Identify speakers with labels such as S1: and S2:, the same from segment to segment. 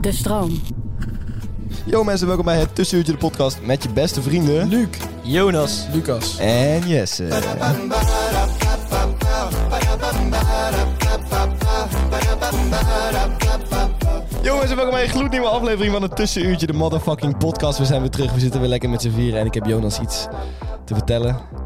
S1: De stroom.
S2: Yo mensen, welkom bij het Tussenuurtje de podcast met je beste vrienden... Luc, Jonas
S3: Lucas.
S2: en Jesse. Yo mensen, welkom bij een gloednieuwe aflevering van het Tussenuurtje de motherfucking podcast. We zijn weer terug, we zitten weer lekker met z'n vieren en ik heb Jonas iets te vertellen.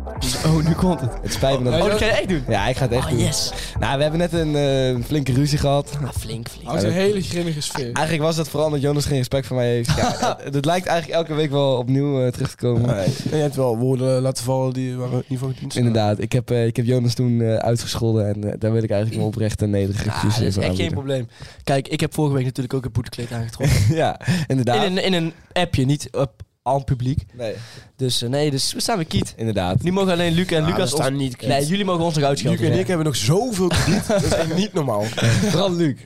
S3: Oh, nu komt het.
S2: Het spijt me dat...
S3: Oh, dat ga je echt doen?
S2: Ja, ik ga het
S4: Oh,
S2: echt doen. Nou, we hebben net een eh, flinke ruzie gehad.
S4: Nou, Flink, flink.
S3: Houdt een hele grimmige sfeer.
S2: Eigenlijk was dat vooral omdat Jonas geen respect voor mij heeft. Ja, het, het lijkt eigenlijk elke week wel opnieuw eh, terug te komen.
S3: En je hebt wel woorden eh, laten vallen die waren in ieder geval niet
S2: Inderdaad, ik heb, eh, ik heb Jonas toen eh, uitgescholden en eh, daar wil ik eigenlijk een oprecht en nederig
S4: Ah,
S2: excuus
S4: dat is
S2: voor
S4: echt geen
S2: aanbieden.
S4: probleem. Kijk, ik heb vorige week natuurlijk ook een boetekleed aangetrokken.
S2: Ja,
S4: in,
S2: inderdaad.
S4: een, in een appje, niet op, aan het publiek.
S2: Nee,
S4: Dus eh, nee, dus we staan weer kiet.
S2: inderdaad.
S4: Nu mogen alleen Luc en
S3: Ah,
S4: Lucas
S3: we staan
S4: ons-
S3: niet kiet.
S4: Nee, jullie mogen ons nog
S3: Luc
S4: uitschelden.
S3: en ik hebben nog zoveel krediet. dat is echt niet normaal.
S2: Vooral Luc.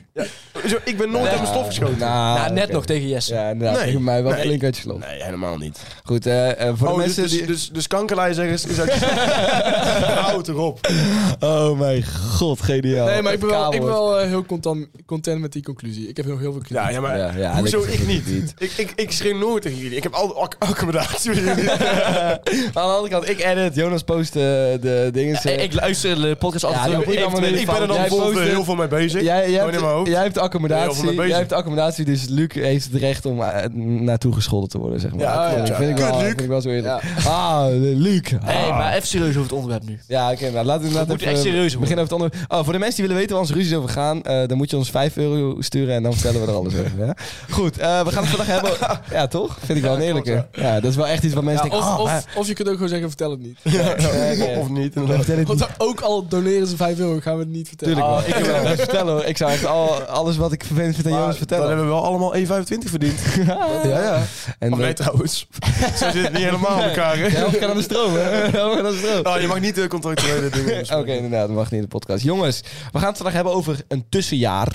S3: Zo, ik ben nooit
S4: Nee.
S3: uit mijn stof geschoten.
S2: Nou,
S4: Ja, net
S2: oké.
S4: nog tegen Jesse.
S2: Ja, inderdaad.
S3: Nee.
S2: Tegen mij wel
S3: Nee.
S2: flink uitgescholden.
S3: Nee, helemaal niet.
S2: Goed, eh, eh, voor
S3: Oh,
S2: de
S3: dus,
S2: mensen
S3: dus,
S2: die...
S3: dus, dus kankerlijzeggers is uit Houd erop.
S2: Oh mijn god, geniaal.
S5: Nee, maar ik ben wel, ik ben
S2: Kabel.
S5: wel eh, heel content, content met die conclusie. Ik heb nog heel veel kritiek.
S3: Ja, ja maar
S2: Ja, ja,
S3: hoezo
S2: lekker
S3: ik niet?
S2: krediet.
S3: Ik, ik, ik schreeuw nooit tegen jullie. Ik heb al ac- accommodatie met jullie.
S2: Aan de andere kant, ik edit, Jonas post eh, de dingen.
S4: Eh, ik luister de podcast
S2: Ja,
S4: altijd.
S2: joh,
S4: terug.
S2: ik-
S4: Eventueel
S2: ik-
S3: ik ben er dan
S2: Jij
S3: bijvoorbeeld
S2: postte-
S3: heel veel mee bezig.
S2: Jij, jij,
S3: Gewoon in mijn
S2: hebt,
S3: hoofd.
S2: jij hebt de
S3: Heel veel
S2: accommodatie,
S3: mee bezig.
S2: jij hebt de accommodatie, dus Luc heeft het recht om eh, naartoe gescholden te worden, zeg maar.
S3: Ja,
S2: Dat
S3: klopt, ja.
S2: Vind ik wel,
S3: Kut, Luc.
S2: vind ik wel zo eerlijk. Ah, Luc. Ah.
S4: Hey, maar even serieus over het onderwerp nu.
S2: Ja, oké, nou laten we, laten
S4: moeten echt serieus worden.
S2: beginnen over het onderwerp. Oh, voor de mensen die willen weten waar onze ruzies over gaan, eh, dan moet je ons 5 euro sturen en dan vertellen we er alles over. Hè? Goed, eh, we gaan het vandaag hebben. Ja, toch? Vind ik wel een eerlijke. Ja. dat is wel echt iets wat mensen
S5: Ja,
S2: denken.
S5: of,
S2: ah, maar-
S5: of, of je kunt ook gewoon zeggen, vertel het niet.
S2: oké.
S3: Of niet.
S2: we
S3: inderdaad.
S2: vertellen het
S5: Want
S2: niet.
S5: dan ook al doneren ze 5 euro, gaan we het niet vertellen.
S2: Tuurlijk, wel. ik wil wel best vertellen hoor. Ik zou echt al, alles wat ik vervelend vind aan
S3: Maar
S2: Jonas
S3: Dan
S2: vertellen.
S3: hebben we wel allemaal 1,25 verdiend.
S2: ja, ja. En
S3: Of nee,
S2: we-
S3: trouwens. Zo zit het niet helemaal aan elkaar. hè?
S2: de helft gaat aan de stroom, hè? De helft gaat aan de stroom.
S3: Oh, je mag niet de contractuele dingen
S2: Oké, inderdaad, dat mag niet in de podcast. Jongens, we gaan het vandaag hebben over een tussenjaar.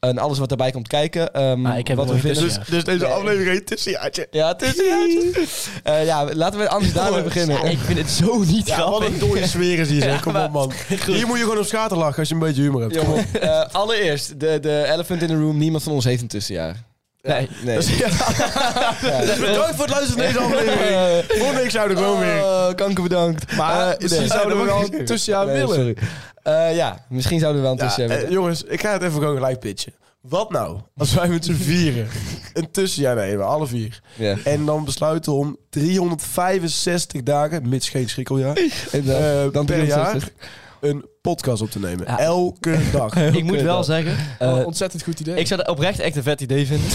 S2: En alles wat daarbij komt kijken. ehm,
S4: Ah, ik heb
S2: wat
S4: nog
S2: we
S4: een
S2: vinden.
S4: tussenjaar.
S3: Dus, dus deze
S2: Nee.
S3: aflevering heet tussenjaartje.
S2: Ja, tussenjaartje. Eh ja, laten we anders daarmee beginnen.
S4: Ja, ik vind het zo niet
S3: Ja, wat
S4: grappig.
S3: een dode sfeer is hier, zeg. Kom
S4: maar-
S3: op, man. Hier moet je gewoon op schater lachen als je een beetje humor hebt.
S2: Jongen, eh, allereerst, de, de elephant in the room. Niemand van ons heeft een tussenjaar.
S4: Nee.
S2: Nee.
S3: Dus bedankt voor het luisteren naar deze aflevering.
S2: Eh,
S3: Volgende week zouden we gewoon weer.
S2: eh, kanker bedankt.
S3: Maar
S2: Eh,
S3: misschien
S2: nee.
S3: zouden we
S2: Nee,
S3: wel
S2: sorry.
S3: een tussenjaar
S2: Nee,
S3: willen.
S2: sorry. Eh, ja, misschien zouden we wel een
S3: Ja,
S2: tussenjaar
S3: eh,
S2: willen.
S3: jongens, ik ga het even gewoon gelijk pitchen. Wat nou als wij met z'n vieren een tussenjaar nemen, alle vier.
S2: Ja.
S3: En dan besluiten om 365 dagen, mits geen schrikkeljaar,
S2: En dan-
S3: eh,
S2: dan
S3: per
S2: 360.
S3: jaar een podcast op te nemen.
S4: Ja.
S3: Elke dag.
S4: Ik moet wel zeggen,
S3: oh,
S5: Wel een
S4: eh,
S5: ontzettend goed idee.
S4: ik zou het oprecht echt een vet idee vinden.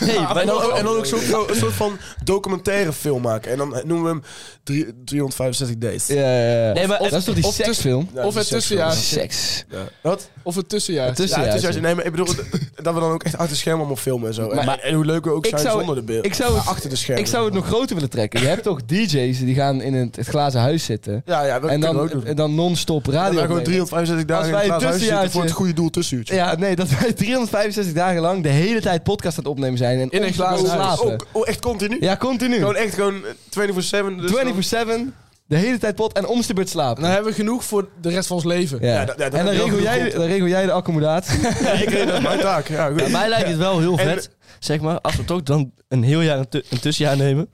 S4: Nee,
S2: Ah,
S3: Ja,
S4: maar
S3: en,
S2: oh,
S3: dan, en dan ook zo'n een soort van documentaire film maken. En dan noemen we hem drie- 365 Days.
S2: Ja, ja, ja.
S4: Nee, maar-
S2: dat is toch die
S5: of tussen-
S2: seksfilm?
S3: Ja, dat
S5: of het
S3: is
S5: tussenjaar.
S3: seksfilm.
S2: Seks.
S3: Wat?
S5: Of het tussenjaar.
S2: Het tussenjaar.
S3: Ja, het tussenjaar.
S2: ja.
S3: Nee, maar ik bedoel d- dat we dan ook echt achter het scherm allemaal filmen en zo. En-
S2: Maar-
S3: en hoe leuk we ook
S2: Ik
S3: zijn
S2: zou-
S3: zonder de beeld.
S2: ik zou het-
S3: Ja, achter de schermen.
S2: Ik zou het nog groter willen trekken. Je hebt toch DJ's die gaan in het, het glazen huis zitten.
S3: Ja, ja, dat
S2: En
S3: kunnen we ook
S2: dan,
S3: doen.
S2: en dan non-stop radio.
S3: dan gewoon
S2: opnemen.
S3: 365 dagen in
S2: wij
S3: het
S2: een
S3: glazen huis zitten
S2: tussenjaartje-
S3: voor het goede doel tussenuurtje.
S2: Ja, nee, dat wij 365 dagen lang de hele tijd podcast aan het opnemen zijn. En
S5: In een glazen
S2: ongelooflijk
S5: huis.
S2: slapen.
S3: Ook, oh, echt continu?
S2: Ja, continu.
S3: Gewoon echt gewoon eh, 24-7. Dus dan-
S2: 24-7, de hele tijd pot en omste beurt slapen.
S5: Dan hebben we genoeg voor de rest van ons leven.
S2: ja.
S3: Ja, dat- ja, dat
S2: en dan
S3: heb je
S2: regel,
S3: heel
S2: jij,
S3: goed.
S2: dan regel jij de accommodatie.
S3: Ja, ik weet dat, mijn taak. Ja, goed.
S4: mij lijkt het wel heel
S3: En-
S4: vet zeg maar, als we toch dan een heel jaar een, tu- een tussenjaar nemen.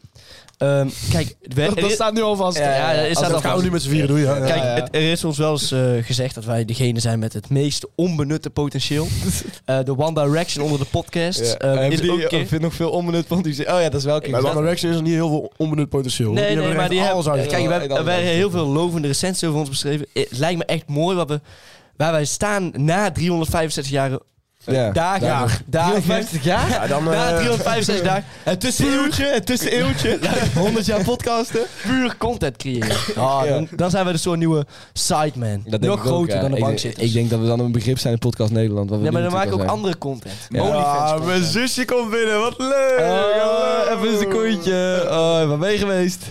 S4: Ehm, kijk, we-
S5: Dat, dat staat nu al vast.
S4: Ja, ja, is
S3: Als
S4: dat
S3: dat gaan we nu met z'n vieren doen, ja.
S4: Kijk,
S2: ja.
S4: het- er is ons wel eens eh, gezegd dat wij degene zijn met het meest onbenutte potentieel. Eh, De One Direction onder de podcast.
S2: Ja.
S4: eh,
S2: Hij
S4: is
S2: heeft-
S4: ook
S2: ik
S4: een keer-
S2: vind nog veel onbenut, want die zegt, oh ja, dat is wel een keer.
S3: Bij One Direction is er niet heel veel onbenut potentieel.
S4: Nee, nee,
S3: hebben
S4: maar
S3: echt
S4: die hebben,
S3: alles uit.
S4: kijk, we
S2: Ik
S4: hebben,
S2: dacht
S4: er werden
S2: dat
S4: heel
S2: het-
S4: veel lovende recensies over ons beschreven. Het lijkt me echt mooi wat we, waar wij staan na 365 jaar.
S2: Ja.
S4: dagen.
S2: Dagen.
S4: dagen.
S2: 350 jaar?
S3: Ja, dan,
S4: Na
S3: eh,
S4: 365 dagen.
S2: Het tusseneeuwtje, het tusseneeuwtje. 100 jaar podcasten.
S4: Puur content creëren. Ah,
S2: Ja.
S4: dan, dan zijn we een soort nieuwe sideman.
S2: Dat denk
S4: Nog
S2: ik ook,
S4: groter
S2: ja.
S4: dan de
S2: Ik
S4: bank
S2: denk- Ik denk dat we dan een begrip zijn in podcast Nederland. Wat we
S4: Nee, maar
S2: nu
S4: dan maak ik ook
S2: natuurlijk al
S4: andere content.
S2: Ja.
S4: Onlyfans
S3: Ah, mijn
S4: content.
S3: zusje komt binnen, wat leuk!
S2: zijn.
S3: hallo.
S2: Oh, even een secondje. Oh, waar ben je geweest?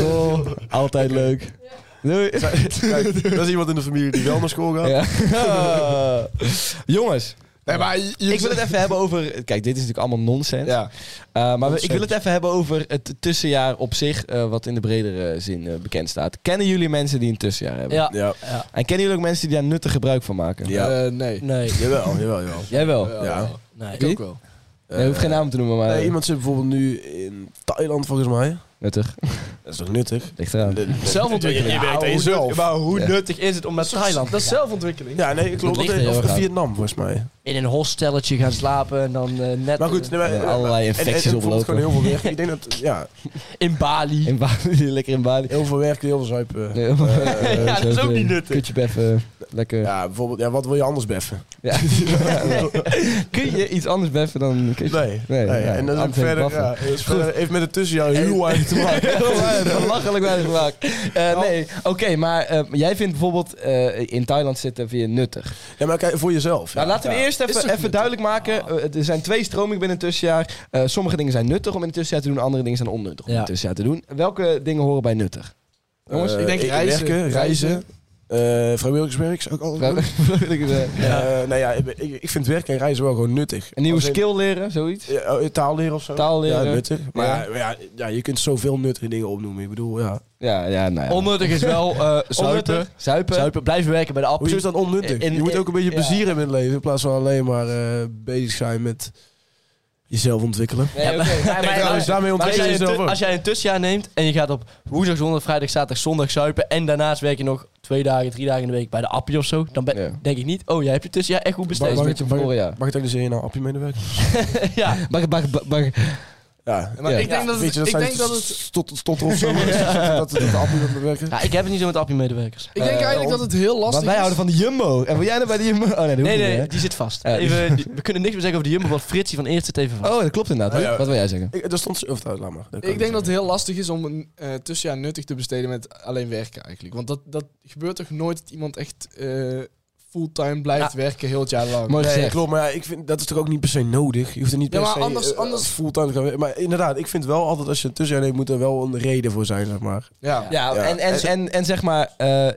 S2: Oh, altijd leuk. Doei.
S3: Kijk, dat is iemand in de familie die wel naar school gaat.
S2: Ja. Jongens,
S5: Nee, maar je- je-
S2: ik wil het even hebben over... Kijk, dit is natuurlijk allemaal nonsens.
S5: Ja.
S2: Uh, maar we- ik
S5: Ontzettend.
S2: wil het even hebben over het tussenjaar op zich, eh, wat in de bredere zin eh, bekend staat. Kennen jullie mensen die een tussenjaar hebben?
S4: Ja.
S3: Ja.
S4: ja.
S2: En kennen jullie ook mensen die daar nuttig gebruik van maken?
S3: Ja.
S5: Eh, nee.
S4: Nee.
S3: Jawel, jawel, jawel.
S2: Jij wel?
S5: Ja.
S3: Ja.
S4: Nee.
S5: Ik ook wel.
S2: Nee, je hoeft geen naam te noemen, maar
S3: Nee, iemand zit bijvoorbeeld nu in Thailand volgens mij.
S2: nuttig.
S3: Dat is toch nuttig?
S2: Ligt eraan.
S5: Zelfontwikkeling.
S3: Je werkt aan
S5: Ja,
S3: jezelf.
S4: Maar hoe
S2: Ja.
S4: nuttig is het om naar Thailand
S5: Dat is zelfontwikkeling.
S3: Ja, nee, ik geloof
S4: ligt
S3: dat
S4: er
S3: in
S4: heel
S3: of
S2: erg aan.
S3: Vietnam volgens mij.
S4: in een hostelletje gaan slapen en dan eh, net
S3: Maar goed,
S4: eh,
S3: nee, maar-
S2: Ja,
S3: maar-
S2: allerlei
S3: en- en-
S2: infecties
S3: en bijvoorbeeld
S2: oplopen.
S3: gewoon heel veel werk. Ik denk dat, ja,
S4: in Bali.
S2: In Bali, lekker in Bali.
S3: heel veel werk, heel veel zuipen.
S2: Nee, maar-
S4: Ja, dat is ook niet nuttig.
S2: Kutje beffen, lekker.
S3: Ja, bijvoorbeeld, ja, wat wil je anders beffen?
S2: Ja. Kun je iets anders beffen dan een kutje?
S3: Nee.
S2: Nee, ja,
S3: en dat is ook
S2: anders
S3: verder,
S2: baffen.
S3: ja, dat is verder- heeft met het tussenjaar heel weinig te maken. Nou.
S2: Heel weinig, Belachelijk weinig gemaakt. Eh, nee, oké, maar eh, jij vindt bijvoorbeeld eh, in Thailand zitten vind je nuttig.
S3: Ja, maar kijk, voor jezelf.
S2: Nou,
S3: ja.
S2: laten we
S3: Ja.
S2: eerst even, even duidelijk maken.
S3: Ah.
S2: eh, er zijn twee stromingen binnen het tussenjaar. Eh, sommige dingen zijn nuttig om in het tussenjaar te doen. Andere dingen zijn onnuttig om in
S4: Ja.
S2: het tussenjaar te doen. Welke dingen horen bij nuttig? Jongens,
S3: Eh,
S5: ik denk reizen.
S3: Werken, reizen. eh vrijwilligerswerk is ook altijd
S2: Vrijwillig- vrijwillig, eh,
S3: Ja. nou ja, ik, ik ik vind werken en reizen wel gewoon nuttig.
S2: Een nieuwe
S3: Als in-
S2: skill leren, zoiets?
S3: Ja, eh, taal leren of zo.
S2: Taal leren.
S3: Ja, nuttig. Maar
S2: Ja.
S3: ja. ja, ja, je kunt zoveel nuttige dingen opnoemen. Ik bedoel, ja.
S2: Ja, ja, nou ja.
S4: Onnuttig is wel eh zuipen.
S2: Onnuttig, Zuipen.
S4: Zuipen, blijven werken bij de
S3: Hoezo
S4: appie.
S3: is dat onnuttig?
S4: In-
S3: je moet
S4: in-
S3: ook een beetje
S4: ja.
S3: plezier hebben in het leven. In plaats van alleen maar eh, bezig zijn met jezelf ontwikkelen.
S2: Nee, oké.
S4: Ja, maar-
S2: maar-
S3: trouwens, daarmee
S4: Maar als
S3: ontwikkel
S4: jij,
S3: je
S4: een
S3: jezelf
S4: tu-
S3: ook.
S4: als jij een tussenjaar neemt en je gaat op woensdag, zondag, vrijdag, zaterdag, zondag zuipen en daarnaast werk je nog twee dagen, drie dagen in de week bij de appie of zo, dan ben-
S2: Ja.
S4: denk ik niet, oh jij hebt je tussenjaar echt goed besteed.
S2: Mag- beetje van Korea.
S3: Mag ik daar nou appje medewerken?
S4: ja.
S2: Bak, bak, bak, bak.
S3: Ja.
S5: Maar
S2: Ja.
S5: ik denk dat
S3: Weet
S5: het...
S3: je, dat
S5: ik
S3: zijn
S5: denk dat het...
S3: stot- stotter of zo. Dat het dat appie moet werken.
S4: ja, ik heb het niet zo met appie medewerkers.
S5: Ik denk eigenlijk dat het heel lastig
S2: Want
S5: is.
S2: wij houden van de Jumbo. En wil jij nou bij de Jumbo? Oh nee, dat hoeft
S4: Nee,
S2: niet,
S4: nee,
S2: hè?
S4: die zit vast.
S2: Ja, die-
S4: Even, die- we kunnen niks meer zeggen over de Jumbo, want Fritsie van Eerst zit even vast.
S2: Oh, dat klopt inderdaad.
S3: Oh,
S2: hè?
S3: ja.
S2: Wat wil jij zeggen?
S3: Ik, daar stond... Of, nou, laat maar. kan
S5: Ik denk dat
S3: niet
S5: het heel lastig is om een eh, tussenjaar nuttig te besteden met alleen werken eigenlijk. Want dat, dat gebeurt toch nooit dat iemand echt eh, fulltime blijft werken heel het jaar lang.
S2: Mooi
S3: Nee,
S2: gezegd.
S3: klopt, maar ja, ik vind, dat is toch ook niet per se nodig? Je hoeft er niet
S5: Ja,
S3: per
S5: maar
S3: se
S5: anders-
S3: eh,
S5: anders-
S3: fulltime te gaan werken. Maar inderdaad, ik vind wel altijd als je een tussenjaar neemt, moet er wel een reden voor zijn, zeg maar.
S5: ja.
S2: Ja,
S3: Ja.
S2: En, en, en, en zeg maar, eh, e-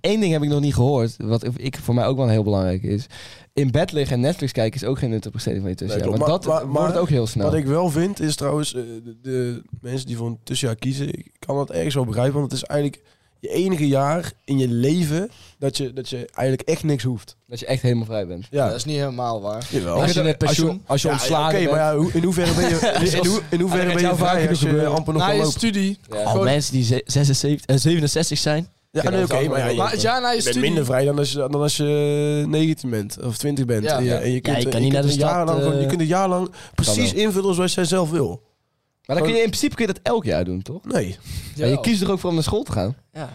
S2: één ding heb ik nog niet gehoord, wat ik, voor mij ook wel heel belangrijk is. In bed liggen en Netflix kijken is ook geen nuttig besteding van je tussenjaar.
S3: Nee,
S2: want
S3: klopt.
S2: dat
S3: Maar- maar- maar-
S2: wordt het ook heel snel.
S3: Wat ik wel vind, is trouwens, eh, de, de mensen die voor een tussenjaar kiezen, ik kan dat ergens wel begrijpen, want het is eigenlijk je enige jaar in je leven dat je, dat je eigenlijk echt niks hoeft.
S2: Dat je echt helemaal vrij bent.
S3: Ja,
S5: dat is niet helemaal waar.
S3: jawel.
S4: Als
S2: Ik
S4: je
S2: vind
S4: met
S2: dat- Als
S4: pensioen-
S2: je, als je
S3: Ja,
S2: ontslagen
S3: oké,
S2: bent.
S3: maar ja, hoe- in hoeverre ben je, in, hoe- in hoeverre
S2: gaat
S3: ben
S2: jou
S3: je
S2: vaak
S3: vrij
S2: genoeg
S3: als je
S2: gebeuren.
S3: amper nog
S5: Na
S3: kan
S5: je
S3: lopen?
S5: studie.
S2: Ja.
S4: Al
S5: gewoon-
S4: mensen die ze- 76, eh, 67 zijn.
S3: Ja, nee, oké, maar ja, je-
S5: maar het jaar na je
S3: je bent
S5: studie.
S3: minder vrij dan als je, dan als je 19 bent of 20 bent.
S5: Ja.
S3: en je,
S5: Ja.
S3: en je kunt,
S4: je kan
S3: eh,
S4: niet
S3: je
S4: naar
S3: kunt
S4: de
S3: een
S4: stad,
S3: jaar lang gewoon-
S4: eh,
S3: Je kunt een jaar lang precies
S2: wel.
S3: invullen zoals jij zelf wil.
S2: Maar dan kun je in principe kun je dat elk jaar doen, toch?
S3: Nee.
S2: Ja, je kiest er ook voor om naar school te gaan.
S4: Ja.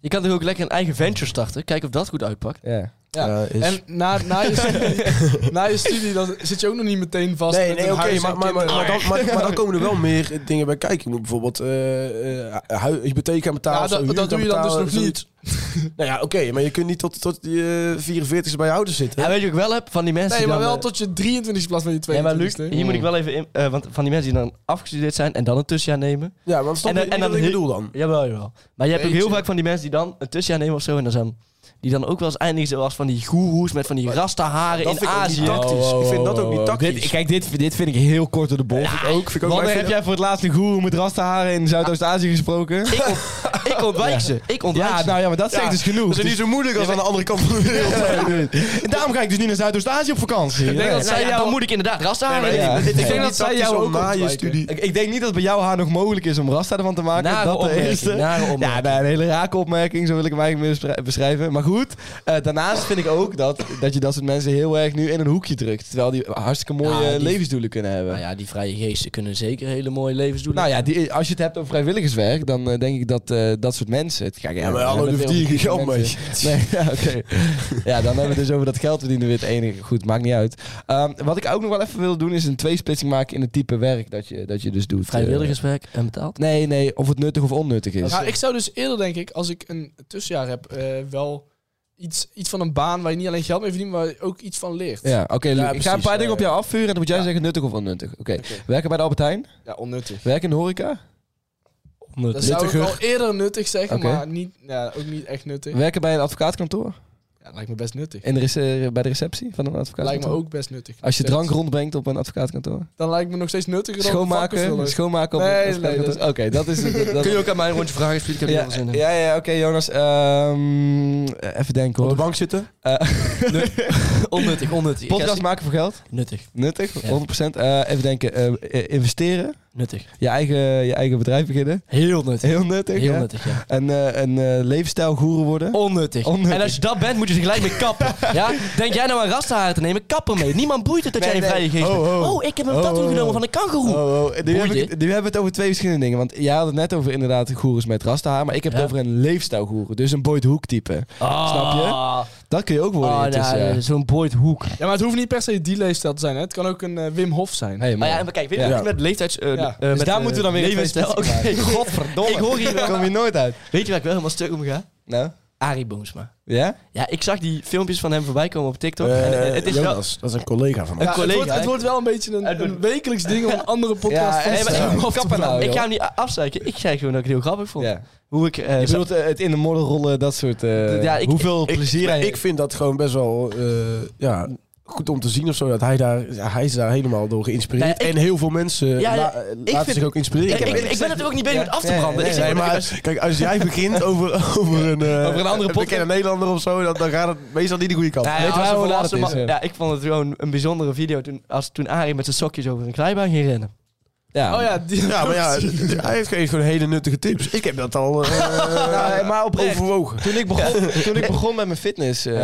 S4: Je kan toch ook lekker een eigen venture starten. Kijken of dat goed uitpakt.
S2: Ja.
S5: Ja.
S3: Eh, is-
S5: En na, na, je studie, na je studie dan zit je ook nog niet meteen vast
S3: Nee,
S5: met
S3: nee
S5: een
S3: oké,
S5: huis en
S3: maar, maar, maar,
S5: kinderen.
S3: maar, dan, maar, maar dan komen er wel meer eh, dingen bij kijken. Je moet bijvoorbeeld eh, eh, hui- hypotheek aan betalen.
S5: Ja,
S3: of
S5: dat-
S3: zo, huur
S5: dat
S3: aan
S5: doe je dan dus
S3: betalen,
S5: nog
S3: zoiets. nou ja, oké, maar je kunt niet tot, tot je 44 bij je ouders zitten.
S4: En weet je wat ik wel heb? Van die mensen
S5: Nee,
S4: die
S5: maar
S4: dan,
S5: wel
S4: eh,
S5: tot je 23 in plaats van je
S4: Nee, maar Luc,
S5: 22
S4: hier moet ik wel even in... eh, want van die mensen die dan afgestudeerd zijn en dan een tussenjaar nemen.
S3: Ja, want dat is toch
S4: En dan-
S3: niet
S4: en
S3: wat
S4: dan
S3: ik
S4: hu-
S3: bedoel dan.
S4: Jawel, jawel. Maar je hebt ook
S5: Beetje.
S4: heel vaak van die mensen die dan een tussenjaar nemen of zo. En dan zijn Die dan ook wel eens eindigen zoals van die goeroes met van die rastaharen
S3: dat
S4: in
S3: vind ik ook niet
S4: Azië.
S3: tactisch. Ik vind dat ook niet tactisch.
S2: Dit, kijk, dit, dit vind ik heel kort door de bocht.
S3: ik ook. Vind ik ook maar
S2: Wanneer
S3: ik
S2: heb
S3: vind-
S2: jij voor het laatst een goeroe met rastenharen in Zuidoost-Azië gesproken?
S4: Ik, ont- ik ontwijk ze. Ik ontwijk
S2: Ja,
S4: ze.
S2: nou ja, maar dat zegt
S3: Ja,
S2: dus genoeg.
S3: Dat is niet zo moeilijk als aan de andere kant van de wereld.
S2: En daarom ga ik dus niet naar Zuidoost-Azië op vakantie.
S4: Ik denk
S2: Nee.
S4: dat zij
S2: Nou ja,
S4: jou...
S2: dan
S4: Dan moet ik inderdaad rastaharen
S3: Nee, maar
S4: hebben.
S2: Ja.
S3: Ik
S2: Ik
S3: denk
S2: denk
S3: dat
S2: dat zij
S3: zij
S2: jou
S3: jou
S2: ook
S3: na je
S5: ontwijken.
S3: studie...
S2: Ik, ik denk niet dat bij jou haar nog mogelijk is om rasta ervan te maken.
S4: Nare
S2: dat de
S4: opmerking,
S2: eerste.
S4: nare opmerking.
S2: Ja, nou, een hele rake opmerking, zo wil ik hem eigenlijk meer beschrij- beschrijven. Maar goed, eh, daarnaast vind ik ook dat, dat je dat soort mensen heel erg nu in een hoekje drukt. Terwijl die hartstikke mooie
S4: Ja, die-
S2: levensdoelen kunnen hebben.
S4: Nou
S2: Nou ja,
S4: ja, die vrije geesten kunnen zeker hele mooie levensdoelen.
S2: die, als je het hebt over vrijwilligerswerk, dan eh, denk ik dat eh, dat soort mensen... Het, kijk,
S3: Ja,
S2: we
S3: maar hallo,
S2: hebben
S3: die
S2: veel
S3: verdienen
S2: goede
S3: geld mee.
S2: mensen. Nee, ja, oké. Ja, dan hebben we het dus over dat geld verdienen weer het enige. Goed, maakt niet uit. Ehm, wat ik ook nog wel even wil doen, is een tweesplitsing maken in het type werk dat je, dat je dus doet.
S4: Vrijwilligerswerk en betaald.
S2: Nee, nee, of het nuttig of onnuttig is.
S5: Nou, ik zou dus eerder, denk ik, als ik een tussenjaar heb, eh, wel iets, iets van een baan waar je niet alleen geld mee verdient, maar ook iets van leert.
S2: Ja, oké. Lu- ik
S3: precies,
S2: ga een paar
S3: ja,
S2: dingen op
S3: ja.
S2: jou afvuren en dan moet jij zeggen nuttig of onnuttig. Oké.
S5: Oké.
S2: Werken bij de Albert Heijn?
S5: Ja, onnuttig.
S2: Werken in de horeca?
S5: Dat zou ik
S3: Nuttiger.
S5: wel eerder nuttig zeggen,
S2: Oké.
S5: maar niet, ja, ook niet echt nuttig.
S2: Werken bij een advocaatkantoor?
S5: Ja, lijkt me best nuttig.
S2: In de rece- bij de receptie van een advocaatkantoor?
S5: Lijkt me ook best nuttig.
S2: Als je
S5: Nog
S2: drank
S5: steeds.
S2: rondbrengt op een advocaatkantoor?
S5: Dan lijkt me nog steeds nuttiger dan
S2: Schoonmaken?
S5: vakkenvuller.
S2: Schoonmaken op
S5: Nee,
S2: een
S5: nee,
S2: advocaatkantoor?
S5: dat
S2: Oké, dat is... Dat, dat-
S4: Kun je ook aan mij een rondje vragen, Spiet? Ik heb hier
S2: ja,
S4: heel veel zin in.
S2: ja, ja, oké Jonas. Ehm, even denken
S3: Op de
S2: hoor.
S3: bank zitten.
S4: Onnuttig, onnuttig.
S2: Podcast
S4: Ik-
S2: maken voor geld?
S4: Nuttig,
S2: Nuttig,
S4: Ja.
S2: 100%. Eh, even denken, eh, eh, investeren?
S4: nuttig.
S2: Je eigen, je eigen bedrijf beginnen?
S4: Heel nuttig.
S2: Heel nuttig,
S4: Heel
S2: ja.
S4: nuttig, ja.
S2: En eh, een eh, levensstijlgoeroe worden?
S4: Onnuttig.
S2: Onnuttig.
S4: En als je dat bent, moet je ze gelijk mee kappen. ja? Denk jij nou aan rastenharen te nemen? Kapper mee. Niemand boeit het dat
S2: Nee,
S4: jij een
S2: nee.
S4: vrije geest
S2: Oh,
S4: bent.
S2: oh.
S4: Oh, ik heb een
S2: Oh,
S4: tattoo
S2: oh.
S4: genomen van een kangeroe.
S2: Oh, oh. Nu, heb
S4: Boeit
S2: ik, nu hebben we het over twee verschillende dingen. Want jij had het net over inderdaad goeroes met rastahaar. Maar ik heb
S4: Ja.
S2: het over een leefstijlgoeroe. Dus een Boyd Hoek type.
S4: Ah.
S2: Snap je? Dat kun je ook worden
S4: Ah,
S2: intussen.
S4: nou, Zo'n Boyd Hoek.
S5: Ja, maar het hoeft niet per se die leefstijl te zijn. Hè? Het kan ook een eh, Wim Hof zijn.
S2: Hey,
S4: Maar
S2: man.
S4: ja, maar kijk, weet
S3: Ja.
S4: je, met leeftijds... eh,
S5: Ja.
S4: eh,
S2: dus
S4: met,
S2: daar
S4: eh,
S2: moeten we dan weer een
S4: levensstijl.
S2: tweespits maken.
S4: Oké.
S2: Godverdomme.
S4: Ik hoor hier wel-
S2: kom je nooit uit.
S4: Weet je waar ik wel helemaal stuk om ga?
S2: Nou?
S4: Arie Boomsma.
S2: Ja?
S4: Ja, ik zag die filmpjes van hem voorbij komen op TikTok. en, eh, het is wel...
S3: Jonas, dat is een collega van mij.
S4: Een
S5: Ja, het,
S4: collega,
S5: wordt, het
S4: hè?
S5: wordt wel een beetje een,
S4: Het wordt-
S5: een wekelijks ding om een andere podcast
S2: Ja,
S5: ja,
S2: en-
S4: Nee, maar ik-
S2: Ja. Kappen nou,
S4: ik
S2: joh.
S4: ga hem niet a- afzeiken. Ik zei gewoon dat ik het heel grappig vond.
S2: ja.
S4: Hoe ik... eh,
S2: Je bedoelt eh, het in de modder rollen, dat soort... eh,
S4: Ja, ik-
S2: hoeveel
S4: ik-
S2: plezier hij...
S3: Ik vind dat gewoon best wel eh, ja, goed om te zien of zo. Dat hij daar, ja, hij is daar helemaal door geïnspireerd.
S4: Nee, ik-
S3: en heel veel mensen
S4: Ja, ja,
S3: la- eh, laten
S4: vind-
S3: zich ook inspireren.
S4: ik, ik, ik ben natuurlijk ook niet bezig
S2: Ja.
S4: met af te
S2: Nee,
S4: branden.
S2: nee,
S4: ik zeg
S3: Nee,
S4: maar,
S3: maar kijk, als jij begint over, over, een, eh,
S2: Over een andere
S3: bekende Nederlander of zo, dan, dan gaat het meestal niet de goede kant.
S4: Nou ja,
S2: Weet je
S4: als
S2: waar
S4: we
S2: hoe laat het
S4: volwassen
S2: is,
S4: ma-
S2: ja.
S4: ja, ik vond het gewoon een bijzondere video toen, als, toen Arie met zijn sokjes over een glijbaan ging rennen.
S2: Ja.
S5: Oh ja, die
S3: Ja, maar ja, hij heeft geeft gewoon hele nuttige tips. Ik heb dat al eh,
S2: Nou, maar oprecht.
S3: overwogen.
S2: Toen ik begon, toen ik begon met mijn fitness eh,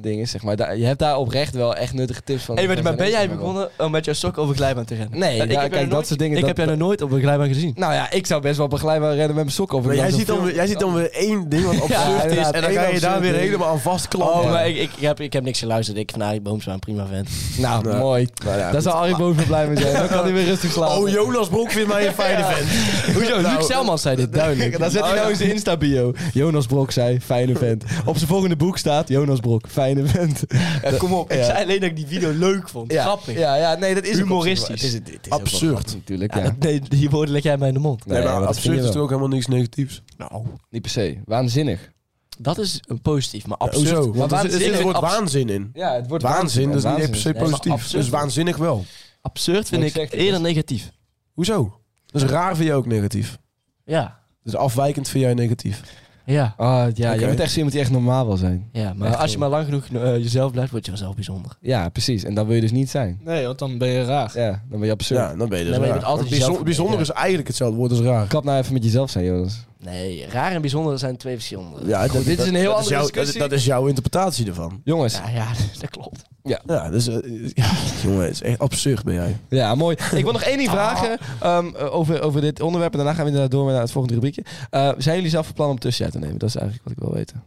S2: dingen, zeg maar. daar- je hebt daar oprecht wel echt nuttige tips van.
S4: Hey, maar,
S2: van
S4: maar ben
S2: zijn
S4: jij
S2: Instagram.
S4: begonnen om met jouw sok over een glijbaan te rennen?
S2: Nee,
S4: Ja,
S2: ja,
S4: ik heb er
S2: kijk,
S4: nooit-
S2: dat soort dingen.
S4: ik
S2: dat-
S4: heb jou nog nooit op een glijbaan gezien.
S2: Nou ja, ik zou best wel op een glijbaan rennen met mijn sokken over.
S3: Maar jij
S2: Dan
S3: ziet,
S2: zo'n
S3: dan,
S2: film-
S3: jij ziet dan weer één ding wat absurd is.
S2: inderdaad,
S3: En dan
S2: één
S3: ga je
S2: absurd
S3: daar weer
S2: ding.
S3: helemaal aan vastklampen.
S4: Oh,
S2: Ja.
S4: maar ik, ik, ik heb, ik heb niks geluisterd. Ik nou, vind Arie Boomsma een prima vent.
S2: Nou,
S3: Nou,
S2: mooi. Daar zou Arie Boom van blij mee zijn. Dan kan hij weer rustig slapen.
S3: Oh, Jonas Broek vindt mij een fijne vent.
S4: Hoezo?
S3: Nou,
S4: Luc Selman zei dit, duidelijk.
S2: Dan zet hij nou in zijn Insta-bio. Jonas Brok zei, fijne vent. Op zijn volgende boek staat, Jonas Brok, fijne vent.
S4: Oh Ja, kom op. Ik
S2: Ja.
S4: zei alleen dat ik die video leuk vond.
S2: Ja.
S4: Grappig.
S2: Ja, ja, nee, dat is ook
S4: Humoristisch.
S2: Het is, het is ook wel
S3: Absurd.
S2: grappig natuurlijk,
S4: Ja,
S2: ja.
S4: dat- nee, die woorden leg jij mij in de mond.
S3: Nee, maar
S2: dat vind
S3: absurd
S2: je
S3: is
S2: wel.
S3: natuurlijk ook helemaal niks negatiefs.
S4: Nou,
S2: Niet per se. Waanzinnig.
S4: dat is een positief, maar absurd.
S3: Hoezo?
S2: Maar
S3: Want er zit- er
S4: waanzinnig-
S3: zit het woord
S4: abs-
S3: waanzin in.
S2: Ja, het wordt
S3: Waanzin, dus niet per se
S4: Nee, maar
S3: positief.
S4: absurd.
S3: Dus waanzinnig wel.
S4: Absurd vind
S2: Ik
S4: ik
S2: zeg het,
S4: eerder
S2: dus-
S4: negatief.
S3: Hoezo? Dus raar vind je ook negatief.
S4: Ja.
S3: Dus afwijkend vind jij negatief.
S4: Ja.
S2: Ah, ja,
S3: Oké.
S2: je moet echt zo iemand die echt normaal wil zijn.
S4: Ja, maar
S2: Echt
S4: als je
S2: wel.
S4: maar lang genoeg eh, jezelf blijft, word je vanzelf bijzonder.
S2: Ja, precies. En dat wil je dus niet zijn.
S5: Nee, want dan ben je raar.
S2: Ja, dan ben je absurd.
S3: Ja, dan ben je
S4: Nee,
S3: dus
S4: maar je
S3: raar.
S4: bent altijd
S3: Want bijzo-
S4: jezelf.
S3: Bijzonder
S4: Ja.
S3: is eigenlijk hetzelfde woord als raar.
S2: Kap nou even met jezelf zijn, Jonas.
S4: Nee, raar en bijzonder zijn twee verschillende.
S3: Ja, dat-
S2: dit is een heel
S3: dat
S2: andere
S3: jouw-
S2: discussie.
S3: Dat, dat is jouw interpretatie ervan.
S2: Jongens.
S4: Ja, ja, dat klopt.
S3: Ja, dus... eh, ja, jongen, het is echt absurd ben jij.
S2: Ja, mooi. Ik wil nog één ding vragen ehm, eh, over, over dit onderwerp. En daarna gaan we inderdaad door naar het volgende rubriekje. Eh, zijn jullie zelf van plan om tussenjaar te nemen? Dat is eigenlijk wat ik wil weten.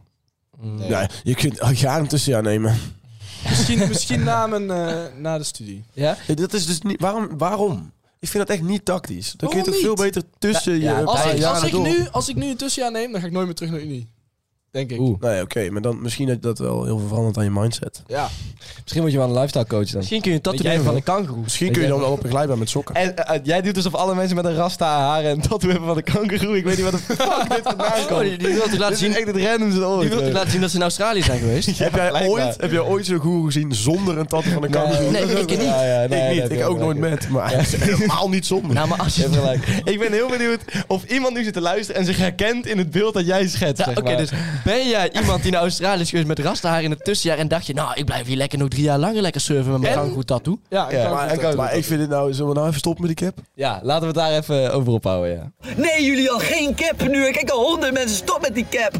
S4: Nee.
S3: Ja, je kunt elk jaar een tussenjaar nemen.
S5: Misschien, misschien na, mijn, eh, na de studie.
S2: Ja?
S3: Ja, Dat is dus niet... Waarom? Waarom? Ik vind dat echt niet tactisch. Dan kun je
S5: Waarom
S3: toch veel
S5: niet?
S3: beter tussen
S4: Ja,
S3: je
S4: ja,
S3: eh,
S5: Als,
S4: Ja,
S3: paar
S5: ik, als,
S3: jaren
S5: ik
S3: door.
S5: nu, als ik nu een tussenjaar neem, dan ga ik nooit meer terug naar Unie. Denk ik.
S2: Oeh.
S3: Nee, oké, maar dan misschien dat dat wel heel veel verandert aan je mindset.
S5: Ja.
S2: Misschien moet je wel een lifestyle coach dan.
S4: Misschien kun je een tattoo
S2: Weet jij
S4: doen van een kangoeroe.
S3: Misschien kun je dan wel op een glijbaan met sokken.
S2: En eh, eh, jij doet alsof alle mensen met een rasta haar en een tattoo hebben van een kangaroo. Ik weet niet wat de fuck dit vandaan
S4: Oh,
S2: komt.
S4: die, die wil toch laten
S2: Dit is
S4: zien,
S2: echt het randomste ooit.
S4: die wil toch
S2: eh.
S4: laten zien dat ze in Australië zijn geweest?
S3: heb, jij
S2: blijkbaar.
S3: ooit, heb jij ooit zo'n goeroe gezien zonder een tattoo van een kangoeroe?
S4: Nee, ik niet.
S2: Ja, ja, nee,
S3: ik
S2: nee,
S3: niet,
S2: nee,
S3: ik ook
S2: nee,
S3: nooit
S2: nee.
S3: met, maar helemaal niet zonder.
S4: Nou, maar als
S2: Je
S4: je...
S2: hebt gelijk. Ik ben heel benieuwd of iemand nu zit te luisteren en zich herkent in het beeld dat jij schetst.
S4: Ja,
S2: zeg
S4: Oké,
S2: maar.
S4: dus ben jij iemand die naar Australië is geweest met rastahaar in het tussenjaar en dacht je, nou, ik blijf hier lekker nog drie jaar langer lekker surfen met mijn
S2: En?
S4: kangoeroe tattoo?
S5: Ja,
S2: Ja,
S5: kan
S3: maar,
S5: het
S3: ik,
S5: ook.
S3: maar ik vind het nou, zullen we nou even stoppen met die cap?
S2: Ja, laten we het daar even over ophouden, ja.
S6: Nee, jullie al geen cap nu. Ik kijk al honderd mensen. Stop met die cap.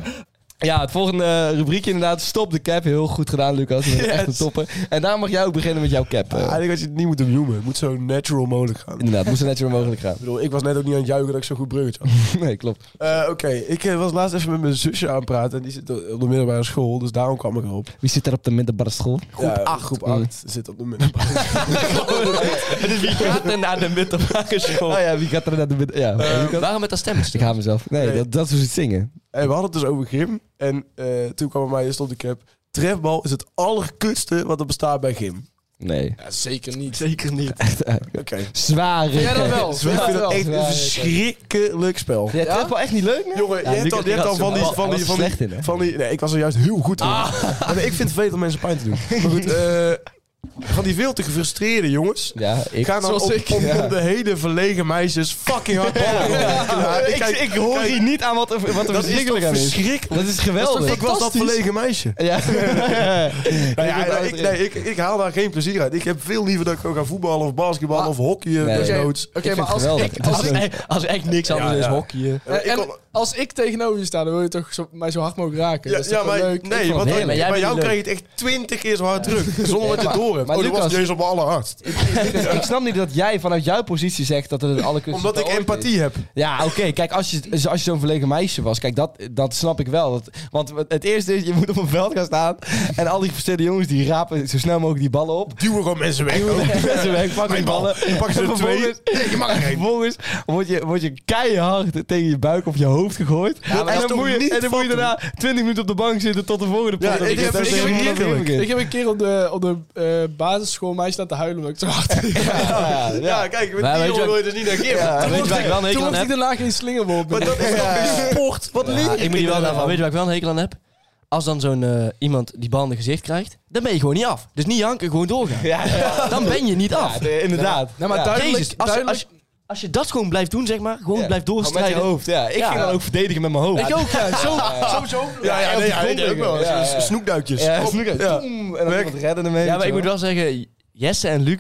S2: Ja, het volgende rubriekje inderdaad. Stop de cap. Heel goed gedaan, Lucas. Je bent Echt een topper. En daar mag jij ook beginnen met jouw cap. eh.
S3: Eigenlijk had je het niet moeten benoemen. Het moet zo natural mogelijk gaan. Ik
S2: Inderdaad, moest er net zo mogelijk gaan.
S3: bedoel, ik was net ook niet aan het juichen dat ik zo'n goed bruggetje had.
S2: Nee, klopt.
S3: Eh, Oké, ik eh, was laatst even met mijn zusje aan het praten. En die zit op de middelbare school, dus daarom kwam ik erop.
S2: Wie zit er op de middelbare school?
S3: Groep 8. Groep 8 zit op de middelbare
S4: Dus wie gaat er naar de middelbare school?
S2: Oh ja, wie gaat er naar de middelbare... Ja, Lucas?
S4: Eh, Waarom met dat
S2: Ik
S4: stemmetje?
S2: haal mezelf. Nee,
S3: Nee.
S2: dat, dat is het zingen.
S3: En we hadden het dus over gym. En eh, toen kwam bij mij stond de cap. Trefbal is het allerkutste wat er bestaat bij gym.
S2: Nee.
S5: Ja, zeker niet.
S4: Zeker niet.
S2: Echt, eh,
S3: Oké.
S2: Zware
S5: Ja, dat
S2: cap.
S5: wel.
S3: Dus ik vind het echt een
S2: Ja,
S3: verschrikkelijk spel.
S2: Jij treft wel echt niet leuk, nee?
S3: Jongen,
S2: Ja,
S3: je hebt
S2: Lucas,
S3: al, je hebt al
S2: die
S3: van die...
S2: was-
S3: Van die,
S2: was
S3: van die,
S2: slecht in, hè?
S3: van die- nee, ik was er juist heel goed in. Ja, maar ik vind het vervelend om mensen pijn te doen. Maar goed, eh, van die veel te gefrustreerde jongens...
S2: Ja, ik...
S3: Ik ga dan
S5: Zoals
S3: op,
S5: ik.
S3: op-
S2: Ja.
S3: op de hele verlegen meisjes fucking hard ballen. Ja,
S2: ik,
S3: kijk,
S2: ik hoor hier niet aan wat er, wat er
S3: dat is toch
S2: verschrikkelijk aan is.
S3: verschrikkelijk.
S2: Dat is geweldig.
S3: Ik was dat verlegen meisje.
S2: Ja.
S3: Nou ja, ik, nee, ik, ik haal daar geen plezier uit. Ik heb veel liever dat ik gewoon ga voetballen of basketballen
S5: Maar-
S3: of hockey.
S2: Nee.
S3: Nee.
S5: Oké,
S3: Desnoods.
S5: oké,
S2: vind
S5: maar
S2: het
S5: als
S2: geweldig.
S5: ik,
S2: Dat
S5: als
S4: Als
S5: ik,
S4: echt, als echt niks anders
S3: Ja,
S4: is,
S3: ja.
S4: hockeyen.
S3: Ja, Eh, ik
S5: en
S3: kon-
S5: als ik tegenover je sta, dan wil je toch zo, mij zo hard mogelijk raken. Dus
S3: ja,
S5: dat is
S3: ja,
S5: toch wel
S3: maar
S5: leuk.
S3: nee,
S2: vond
S3: want
S2: het
S3: dan-
S2: heerlijk.
S3: bij
S4: Maar jij
S3: jou
S4: bent
S3: krijg je het echt twintig keer zo hard druk. Zonder dat je het door hebt.
S2: maar
S3: Oh, dat was
S2: Lucas-
S3: niet eens op mijn allerhardst.
S2: ik snap niet dat jij vanuit jouw positie zegt dat het het allerkutste
S3: Omdat ik
S2: ooit is.
S3: empathie heb.
S2: Ja, oké. Kijk, als je, dus als je zo'n verlegen meisje was, kijk, dat, dat snap ik wel. Dat, want het eerste is, je moet op een veld gaan staan en al die verstelde jongens die rapen zo snel mogelijk die ballen op.
S3: Duwen gewoon mensen weg. ook.
S2: Mensen weg, pakken die
S3: Oh. Mijn bal.
S2: ballen.
S3: Dan pakken ze er
S2: En
S3: twee.
S2: vervolgens-
S3: Nee, je mag er geen.
S2: Vervolgens word je, word je keihard tegen je buik of je hoofd gegooid.
S3: maar dat
S2: en
S3: is
S2: dan,
S3: toch
S2: moet je,
S3: niet
S2: en dan moet je daarna 20 minuten op de bank zitten tot de volgende
S3: Ja,
S2: pot.
S3: ik
S2: Dat
S3: heb-
S2: dat
S3: ik
S2: is
S3: heb
S2: helemaal
S3: heerlijk.
S2: niet
S5: Ik heb een keer op de, op de eh, basisschool mij staan te huilen omdat ik te hard
S2: Ja, ja.
S3: Ja, kijk, met
S4: Maar
S3: die
S4: weet je
S3: jongen
S4: wat-
S3: wil je dus niet naar gym.
S4: Weet je waar ik wel een hekel
S5: Toen
S4: aan
S5: mocht
S4: heb?
S5: ik daarna geen slingerwoord
S3: Maar
S5: meer.
S3: dat is toch geen sport? Wat leer
S4: Ja,
S3: je
S4: ik moet hier wel
S3: kinderen
S4: naar van.
S3: dan?
S4: Weet je waar ik wel een hekel aan heb? Als dan zo'n eh, iemand die bal in het gezicht krijgt, dan ben je gewoon niet af. Dus niet janken, gewoon doorgaan. Dan ben je niet af.
S2: Ja, inderdaad.
S5: Nou, maar
S2: Ja.
S5: duidelijk,
S4: Jezus, als, je-
S5: duidelijk,
S4: als, je- als je dat gewoon blijft doen, zeg maar, gewoon
S2: Ja.
S4: blijft
S2: Maar met je
S4: doorstrijden.
S2: hoofd, ja. Ik
S4: Ja.
S2: ging dan ook verdedigen met mijn hoofd.
S4: Ik ook, ja. Zo, zo,
S3: Ja, ja,
S2: Ja,
S3: nee,
S2: ja,
S3: ja,
S2: die
S3: ik denk ook wel.
S2: ja, ja.
S3: Snoekduikjes.
S2: dus- Ja,
S3: Op.
S2: snoek-
S3: Ja.
S2: Toem, en dan
S3: Weg.
S2: iemand redden ermee.
S4: Ja, maar
S2: weet
S4: ik
S2: je wel.
S4: moet wel zeggen, Jesse en Luc,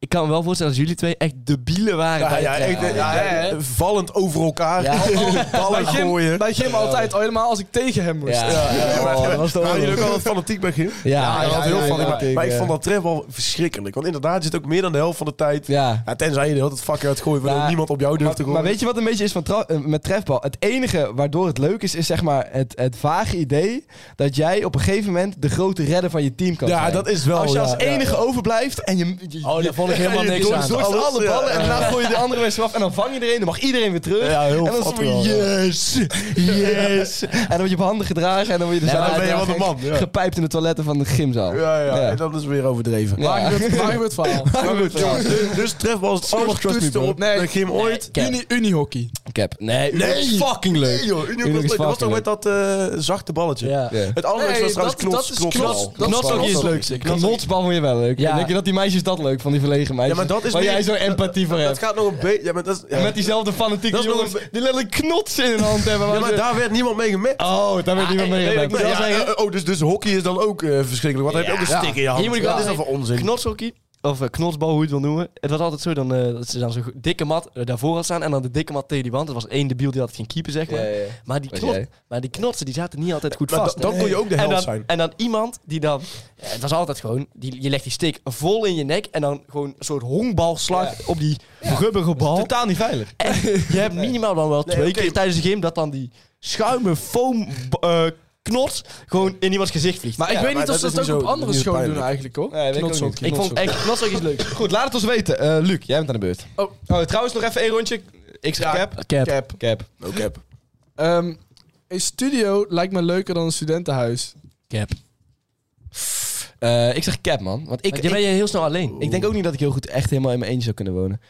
S4: ik kan me wel voorstellen dat jullie twee echt debielen waren.
S3: Ja,
S4: bij
S3: ja,
S4: het
S3: echt,
S4: trainen.
S3: eh, ja, eh, vallend over elkaar.
S2: Ja. oh,
S3: Ballen gooien.
S5: bij Jim altijd, al helemaal als ik tegen hem moest.
S2: Ja, ja,
S3: maar-
S2: oh, dat was de
S3: Waren jullie
S2: oorlog.
S3: ook altijd fanatiek bij Gim?
S2: Ja,
S3: dat
S2: ja,
S3: heel
S2: ja,
S3: van.
S2: ja.
S3: maar, maar ik vond dat trefbal verschrikkelijk. Want inderdaad, je zit ook meer dan de helft van de tijd.
S2: Ja.
S3: Ja, tenzij je de hele tijd fucking uit gooien, waardoor
S2: Ja.
S3: niemand op jou durft te
S2: Maar,
S3: gooien.
S2: maar weet je wat een beetje is van tra- eh, met trefbal? Het enige waardoor het leuk is, is zeg maar het, het vage idee dat jij op een gegeven moment de grote redder van je team kan
S3: ja,
S2: zijn.
S3: dat is wel.
S2: Als je
S3: ja,
S2: als
S3: ja.
S2: enige overblijft en je, je,
S4: Oh, daar vond ik helemaal
S2: je
S4: niks aan.
S2: doorst
S3: Alles,
S2: alle
S3: ja.
S2: ballen en daarna gooi je de andere mensen af en dan vang je iedereen, dan mag iedereen weer terug.
S3: Oh, Ja, heel
S2: en dan is
S3: vat
S2: het van,
S3: wel, ja.
S2: yes, yes. en dan word je op handen gedragen en dan word je dus de
S4: Nee, maar
S2: zaal
S4: dan ben je
S3: wel de
S2: uitgedragen,
S3: man, ja.
S2: Gepijpt in de toiletten van de gymzaal.
S3: Ja, ja,
S2: Ja.
S3: en dat is weer overdreven.
S2: Ja.
S5: Waar gebeurt- waar gebeurt het verhaal?
S3: Maar goed, jongens, dus, dus trefbal is het allerkutste op
S5: Nee.
S3: bij Gim ooit.
S4: Cap.
S5: Uni, unihockey.
S2: Cap. Nee,
S3: Nee.
S2: fucking leuk.
S3: Nee, joh, Union
S2: Union is
S3: was leuk. Dat was
S2: fucking
S3: toch met dat eh, zachte balletje?
S4: Ja.
S2: Ja.
S3: Het allerleukste
S5: Nee,
S3: was trouwens
S5: dat- dat
S3: knots,
S5: is
S3: knots,
S5: knots-
S3: knots-
S5: dat is
S3: knots-
S4: knotshockey
S5: knots-
S4: is leuk.
S2: Knotsbal vond je wel leuk.
S4: Ja.
S2: Denk je dat die meisjes dat leuk, van die verlegen meisjes?
S3: maar dat is
S2: Waar
S3: meer-
S2: jij zo empathie voor
S3: Dat
S2: hebt.
S3: gaat nog een beetje... Ja, maar dat is... ja.
S2: En Met diezelfde fanatieke
S3: Dat is nog
S2: jongens
S3: een
S2: die letterlijk knots in hun hand hebben.
S3: Ja,
S2: waar
S3: maar
S2: ze-
S3: daar werd niemand mee gemerkt.
S2: Oh, daar werd niemand
S4: nee,
S2: mee
S4: nee,
S2: gewerkt.
S4: ik moet
S2: Dat
S4: wel
S2: is
S3: Ja,
S2: echt-
S3: Ah, eh, oh, dus, dus hockey is dan ook eh, verschrikkelijk. Want dan heb je ook een stick in je hand.
S4: Hier moet ik wel
S3: dat is dan voor
S4: zeggen,
S3: onzin.
S4: knotshockey, of eh, knotsbal, hoe je het wil noemen. Het was altijd zo dan, eh, dat ze dan zo'n dikke mat eh, daarvoor had staan en dan de dikke mat tegen die wand. Er was één debiel die had geen keeper, zeg maar.
S2: Ja, ja, ja.
S4: Maar, die
S2: Was
S4: knot,
S2: jij?
S4: maar die knotsen die zaten niet altijd goed
S3: Maar
S4: vast.
S3: da- dan kon je ook de
S4: en
S3: held
S4: dan,
S3: zijn.
S4: En dan iemand die dan... ja, Het was altijd gewoon... Die, je legt die stick vol in je nek en dan gewoon een soort honkbalslag op die rubberen
S3: Dus
S4: bal.
S2: Oh. Totaal niet veilig.
S4: En je hebt minimaal dan wel twee
S3: oké.
S4: keer tijdens de game dat dan die schuime foam eh, knots gewoon in iemands gezicht vliegt.
S5: Maar ik
S2: Ja,
S5: weet
S3: maar
S5: niet of
S3: dat
S5: ze
S3: is
S5: dat
S3: niet
S5: ook
S3: zo-
S5: op andere
S3: niet zo
S5: scholen doen
S3: pijnlijk.
S5: eigenlijk, hoor.
S2: Nee, weet ik ook
S5: Knotshockey.
S4: ik vond echt knotshockey is leuk.
S2: Goed, laat het ons weten. Eh, Luc, jij bent aan de beurt.
S5: Oh.
S2: trouwens nog even één rondje. Ik zeg
S5: Ja.
S2: cap.
S4: Cap.
S5: Cap.
S2: Cap.
S3: No cap.
S5: Ehm, een studio lijkt me leuker dan een studentenhuis.
S4: Cap.
S2: Eh, ik zeg cap, man. Want ik,
S4: Want
S2: ik,
S4: je bent je heel snel alleen.
S2: ik denk ook niet dat ik heel goed echt helemaal in mijn eentje zou kunnen wonen.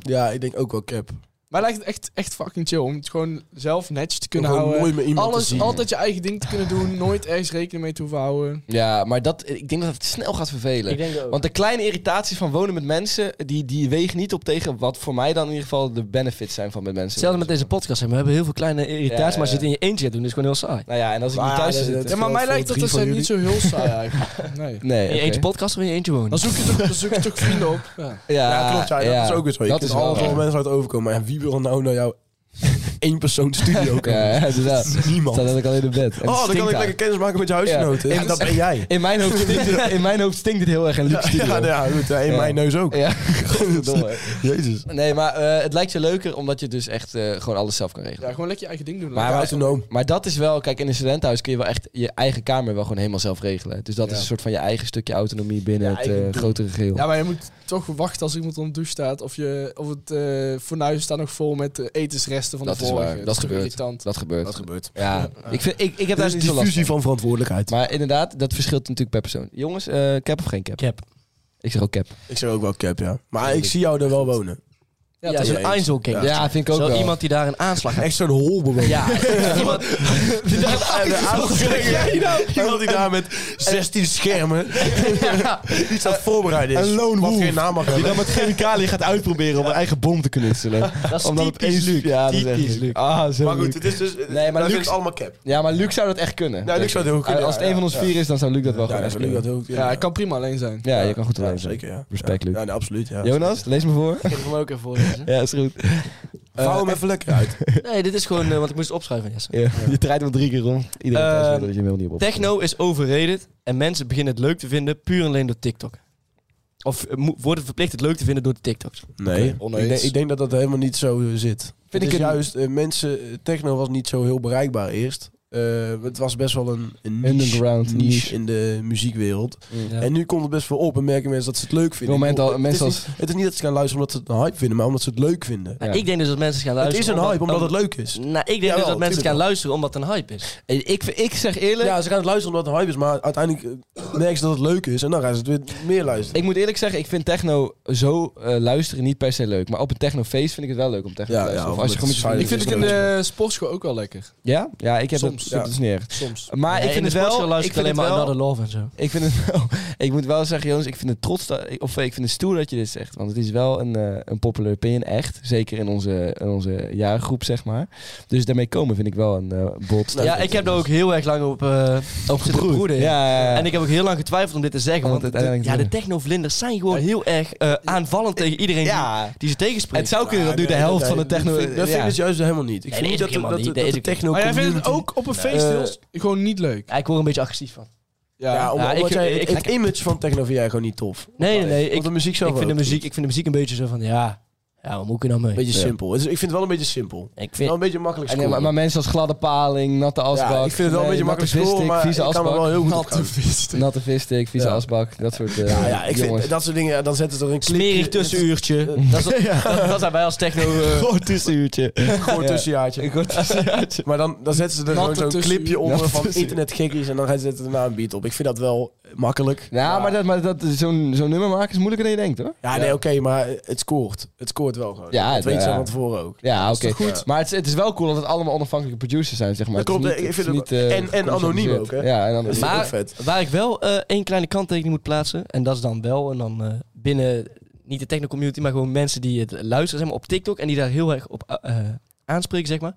S3: Ja, ik denk ook wel cap.
S5: Maar het lijkt het echt, echt fucking chill om het gewoon zelf netjes te kunnen
S3: Om gewoon
S5: houden.
S3: mooi met iemand te
S5: Alles,
S3: zien.
S5: altijd je eigen ding te kunnen doen. Nooit ergens rekening mee te hoeven houden.
S2: Ja, maar dat, ik denk dat het snel gaat vervelen.
S4: Ik denk ook.
S2: Want de kleine irritatie van wonen met mensen, die, die weegt niet op tegen wat voor mij dan in ieder geval de benefits zijn van met mensen.
S4: Hetzelfde met deze podcast. hè. We hebben heel veel kleine irritaties,
S2: Ja, ja,
S4: maar als je het
S2: ja.
S4: in je eentje gaat doen, is gewoon heel saai.
S2: Nou ja, en als ik
S3: Ah,
S2: niet thuis
S3: dat-
S2: zit...
S3: dat-
S5: Ja, maar mij
S3: voor
S5: lijkt dat
S3: drie van
S5: dat zijn
S3: jullie.
S5: niet zo heel saai eigenlijk. Nee.
S2: Nee,
S4: In je
S2: oké.
S4: eentje podcast of in je eentje wonen.
S5: Dan zoek je toch, dan zoek je toch vrienden op. Ja.
S2: Ja,
S3: Ja, klopt. Ja,
S2: ja.
S3: Dat is ook weer zo. Je
S2: Dat
S3: kunt
S2: is wel
S3: altijd
S2: waar.
S3: wel mensen uit overkomen. Maar ja, wie wil nou naar jou één persoon studio komen?
S2: Ja, ja, inderdaad.
S3: Niemand.
S2: Staat dat ik al in de bed. En het
S3: Oh, dan kan
S2: stinkt
S3: ik
S2: daar.
S3: lekker kennis maken met je huisgenoten.
S2: Ja.
S3: En dat ben jij.
S2: In mijn, hoofd stinkt het, in mijn hoofd stinkt het heel erg een luxe studio.
S3: Ja, nou ja, goed. Ja, in
S2: Ja.
S3: mijn neus ook.
S2: Ja, godverdomme.
S3: Jezus.
S2: Nee, maar eh, het lijkt je leuker omdat je dus echt eh, gewoon alles zelf kan regelen.
S5: Ja, gewoon lekker je eigen ding doen.
S2: Maar
S5: Lekker-
S3: Ja, autonoom.
S2: Maar dat is wel, kijk, in een studentenhuis kun je wel echt je eigen kamer wel gewoon helemaal zelf regelen. Dus dat is een soort van je eigen stukje autonomie binnen het eh, grotere geheel.
S5: Ja, maar je moet toch wachten als iemand onder de douche staat. Of, je, of het eh fornuis staat nog vol met eh, etensresten van
S2: dat
S5: de
S2: is
S5: vorige.
S2: waar, dat,
S5: is toch
S2: gebeurt.
S5: irritant.
S2: Dat gebeurt.
S3: Dat gebeurt.
S2: Ja, ik, vind, ik, ik heb daar
S3: Dus
S2: niet zo last
S3: diffusie
S2: van.
S3: van verantwoordelijkheid.
S2: Maar inderdaad, dat verschilt natuurlijk per persoon. Jongens, eh, cap of geen cap?
S4: Cap.
S2: Ik zeg ook cap.
S3: Ik zeg ook wel cap, ja. Maar ik zie jou er wel wonen.
S4: Ja,
S3: dat
S4: dat is
S3: is wel
S4: een
S3: eens.
S4: Einzelking.
S2: Ja, vind ik ook
S4: Zo
S2: wel.
S4: iemand die daar een aanslag heeft.
S3: Echt zo'n holbewoner.
S4: Ja, iemand die daar een aanslag
S2: nou.
S3: Iemand die daar met 16 schermen die staat voorbereid is.
S2: Een lone
S3: Wat
S2: wolf.
S3: geen naam mag hebben.
S2: dan met chemicaliën gaat uitproberen om een eigen bom te knutselen.
S4: Dat is
S2: Omdat het
S4: typisch
S2: één-
S4: Luc.
S2: Ja, dat is echt
S4: Typisch
S2: Luc.
S4: Luc.
S2: Ah, zo
S3: Maar goed,
S2: Luc.
S3: het is dus...
S2: Nee, maar
S3: dan
S2: Luc-
S3: is allemaal cap.
S2: Ja, maar Luc zou dat echt kunnen.
S3: Ja, Luc zou het heel goed kunnen,
S2: Als het
S3: ja,
S2: een van
S3: ja,
S2: ons
S3: ja.
S2: vier is, dan zou Luc dat wel
S3: Ja,
S2: gewoon
S3: dat
S2: echt
S3: is Luc
S2: kunnen.
S3: dat heel
S5: Ja, ik kan prima alleen zijn.
S2: Ja, je kan goed alleen zijn.
S3: Zeker, ja.
S2: Respect,
S3: Ja,
S2: Luc.
S3: Ja, nee, absoluut, ja.
S2: Jonas, lees me voor.
S4: Ik heb hem ook even voorlezen.
S2: Ja, is goed.
S3: Vouw
S2: Eh,
S3: hem even lekker uit.
S4: Nee, dit is gewoon, eh, want ik moest het opschrijven. Jesse.
S2: Ja, Je draait hem drie keer rond. Iedereen thuis
S4: Eh,
S2: weet dat je hem heel niet op.
S4: Techno is overrated en mensen beginnen het leuk te vinden puur en alleen door TikTok. Of eh, mo- worden verplicht het leuk te vinden door de TikToks.
S3: Nee,
S5: oneens.
S3: ik, denk, ik denk dat dat helemaal niet zo eh, zit. Vind
S2: ik
S3: ik
S2: het-
S3: juist, eh, mensen, eh, techno was niet zo heel bereikbaar eerst. Eh, het was best wel een, een niche,
S2: Underground
S3: niche
S2: niche.
S3: in de muziekwereld.
S4: Ja.
S3: En nu komt het best wel op en merken mensen dat ze het leuk vinden.
S2: Moment
S3: Ik bedoel,
S2: al-
S3: het,
S2: mensen
S3: is niet, het is niet dat ze gaan luisteren omdat ze het hype vinden, maar omdat ze het leuk vinden.
S4: Nou,
S2: Ja.
S4: Ik denk dus dat mensen gaan
S3: Het
S4: luisteren.
S3: is een hype omdat het leuk is.
S4: Nou, ik denk
S3: Jawel,
S4: dus dat mensen
S3: tuurlijk
S4: gaan
S3: wel.
S4: luisteren omdat het een hype is.
S2: Ik, ik zeg eerlijk,
S3: Ja, ze gaan het luisteren omdat het hype is, maar uiteindelijk eh, merken ze dat het leuk is en dan gaan ze het weer meer luisteren.
S2: ik moet eerlijk zeggen, ik vind techno zo eh, luisteren niet per se leuk. Maar op een technofeest vind ik het wel leuk om techno
S3: Ja,
S2: te luisteren.
S3: ja,
S2: of als je
S3: omdat
S2: gewoon met je
S3: het
S5: Ik
S2: vrienden-
S5: vind het in de sportschool ook wel lekker.
S2: Ja? Ja, ik heb
S5: Soms,
S2: dat,
S5: ja.
S2: dat is niet echt.
S5: Soms.
S2: Maar
S4: Nee,
S2: ik vind
S4: in
S2: het
S4: de sportschool
S2: wel... Ik
S4: luister
S2: vind
S4: ik alleen
S2: het
S4: maar Another
S2: wel...
S4: Love en zo.
S2: Ik vind het wel... Ik moet wel zeggen, Jonas, ik vind het trots... Dat, of ik vind het stoer dat je dit zegt. Want het is wel een, eh, een popular opinion, echt. Zeker in onze, in onze jaargroep, zeg maar. Dus daarmee komen vind ik wel een eh bold statement.
S4: ja, ik heb daar ook heel erg lang op, eh op zitten broeden.
S2: Ja, ja, ja.
S4: En ik heb ook heel lang getwijfeld om dit te zeggen.
S2: Want
S4: Want de,
S2: uiteindelijk
S4: ja, de
S2: doen.
S4: technovlinders zijn gewoon heel erg eh, aanvallend tegen iedereen
S2: Ja.
S4: die, die ze tegenspreekt.
S2: Het zou kunnen dat nu de
S3: Nee,
S2: helft
S3: nee,
S2: van de
S3: dat
S2: techno...
S3: vind- Dat vind ik
S2: ja.
S3: dus juist helemaal niet. Ik
S4: Nee, dat
S3: vind niet
S4: is
S3: dat,
S4: helemaal
S3: dat,
S4: niet.
S3: dat,
S4: Dat
S3: de
S4: is ook-
S3: techno
S5: Maar jij vindt het
S3: community-
S5: ook op een feest deels Eh, gewoon niet leuk.
S4: Ja, ik word een beetje agressief van.
S5: Ja,
S3: Ja, om-
S4: Ja,
S3: omdat
S4: ik-
S3: jij,
S4: ik-
S3: het image van techno vind jij gewoon niet tof.
S4: Nee, nee, nee.
S3: Want
S4: Ik,
S3: de muziek zelf
S4: ik, vind de
S3: ook
S4: muziek,
S3: niet.
S4: ik vind de muziek een beetje zo van, ja, ja wat moet ik er nou
S3: Een
S4: mee?
S3: beetje Nou, simpel. Het is- ik vind het wel een beetje simpel.
S4: Ik
S3: Wel
S4: vind,
S3: een beetje makkelijk
S2: En, ja, maar,
S3: scoren.
S2: maar mensen als gladde paling, natte asbak...
S3: ja, ik vind het wel
S2: nee,
S3: een
S2: natte
S3: beetje makkelijk scoren,
S2: visstick,
S3: maar ik
S2: vieze
S3: kan
S2: asbak.
S3: me wel heel goed op
S5: natte
S3: houden.
S5: visten.
S2: Natte visstick, vieze
S3: Ja.
S2: asbak, dat soort... eh,
S3: Ja, ja, ik
S2: jongens.
S3: vind dat soort dingen, dan zetten ze er een clipje-
S4: smerig tussenuurtje. dat, is- dat, dat zijn wij als techno... eh,
S2: Kort tussenuurtje.
S3: een goor tussenjaartje.
S2: Een kort tussenuurtje.
S3: Maar dan, dan zetten ze er
S5: Natte
S3: gewoon zo'n
S5: tussenuur.
S3: clipje onder
S2: Natte
S3: van
S2: tussenuur.
S3: internetgekkies en dan gaan ze zetten daarna een beat op. Ik vind dat wel makkelijk.
S2: Ja, maar, dat, maar dat, zo'n, zo'n nummer maken is moeilijker dan je denkt, hoor.
S3: Ja, nee, oké, maar het scoort. Het scoort wel gewoon.
S2: Ja,
S3: dat
S2: ja.
S3: weet ze van tevoren ook.
S2: Ja, oké.
S3: toch goed?
S2: Maar het, is- het is wel cool dat het allemaal onafhankelijke producers zijn, zeg maar.
S3: Dat klopt,
S2: Het is
S3: ik vind
S2: het is
S3: het-
S2: eh,
S3: en- en
S2: gecommercialiseerd.
S3: anoniem ook, hè?
S2: Ja, en
S3: Dat
S2: anoniem.
S3: is
S4: Maar-
S3: ook vet.
S4: Waar ik wel eh, één kleine kanttekening moet plaatsen. En dat is dan wel. En dan eh, binnen niet de techno community, maar gewoon mensen die het luisteren zeg maar, op TikTok. En die daar heel erg op eh, eh, aanspreken, zeg maar.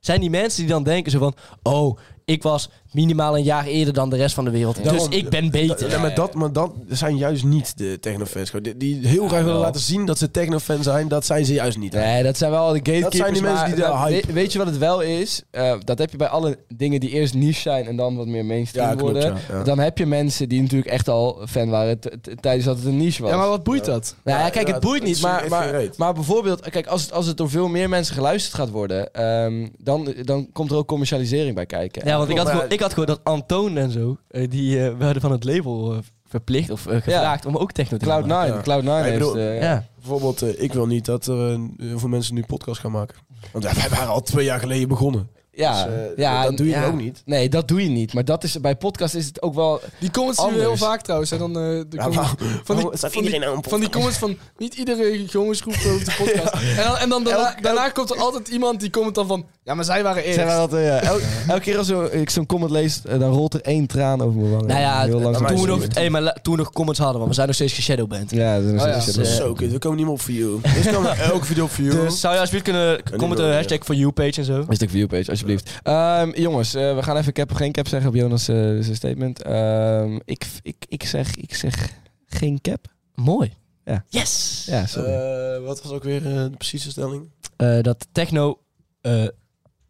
S4: Zijn die mensen die dan denken zo van. Oh, ik was minimaal een jaar eerder dan de rest van de wereld.
S3: Daarom-
S4: dus ik ben beter.
S3: Ja, maar, dat, maar dat zijn juist niet de technofans. gewoon. Die, die heel graag willen
S2: wel.
S3: laten zien dat ze technofan zijn, dat zijn ze juist niet.
S2: Nee, dat zijn wel de gatekeepers.
S3: Dat zijn die mensen
S2: maar
S3: die de
S2: dat-
S3: hype-
S2: we- Weet je wat het wel is? Eh, dat heb je bij alle dingen die eerst niche zijn en dan wat meer mainstream
S3: Ja, klopt,
S2: worden.
S3: ja, ja.
S2: Dan heb je mensen die natuurlijk echt al fan waren t- t- tijdens dat het een niche was.
S5: Ja, maar wat boeit dat?
S2: Nou ja, kijk,
S3: Ja,
S2: het boeit
S3: dat
S2: niet,
S3: is
S2: maar,
S3: echt
S2: maar,
S3: gereed.
S2: maar bijvoorbeeld, kijk, als het, als het door veel meer mensen geluisterd gaat worden, ehm, dan, dan komt er ook commercialisering bij kijken.
S4: Ja, want ik had,
S3: maar-
S4: gewoon, ik had gewoon dat Antoon en zo. eh, die eh, werden van het label eh, verplicht of eh, gevraagd om ook techno te gaan
S2: Cloud9,
S4: maken.
S3: Ja.
S2: Cloud9
S3: Ik
S2: heeft...
S3: bedoel-
S2: eh,
S4: Ja.
S3: Bijvoorbeeld, eh, ik wil niet dat er eh, heel veel mensen nu podcast gaan maken. Want ja, wij waren al twee jaar geleden begonnen.
S2: Ja,
S3: Dus, eh,
S2: ja,
S3: dat doe je
S2: ja.
S3: ook niet.
S2: Nee, dat doe je niet. Maar dat is, bij podcast is het ook wel...
S5: Die comments zien we
S2: Anders.
S5: heel vaak trouwens. Hè? Dan, eh, de
S3: Ja,
S5: comments-
S3: maar-
S5: van, die,
S3: Oh, staat
S5: van, die,
S3: iedereen aan een
S5: van die comments van niet iedere jongensgroep op de podcast. En dan, en dan daarna, daarna komt er altijd iemand die comment dan van... Ja, maar zij waren eerst.
S2: Zijn we dat, eh, elk- elke keer als zo- ik zo'n comment lees, eh, dan rolt er één traan over mijn wangen.
S4: Nou ja,
S2: heel langzaam.
S4: toen we, nog,
S3: sorry.
S4: hey, maar la- toen we nog comments hadden, want we zijn nog steeds geshadowband.
S2: Ja, dat is
S5: Oh ja.
S2: dat is-
S4: Dus, eh,
S3: Zo kut, we komen niet meer op view. Dus komen we elke video op view.
S4: Dus zou je alsjeblieft kunnen commenten,
S3: meer.
S4: hashtag for you page en zo.
S2: Een stuk viewpage, alsjeblieft. Ehm, jongens, eh, we gaan even cap of geen cap zeggen op Jonas' eh, zijn statement. Ehm, ik, ik, ik, zeg, ik zeg geen cap.
S4: Mooi.
S2: Ja.
S4: Yes!
S2: Ja, sorry.
S3: Eh, wat was ook weer eh, de precieze stelling?
S4: Eh, dat techno eh,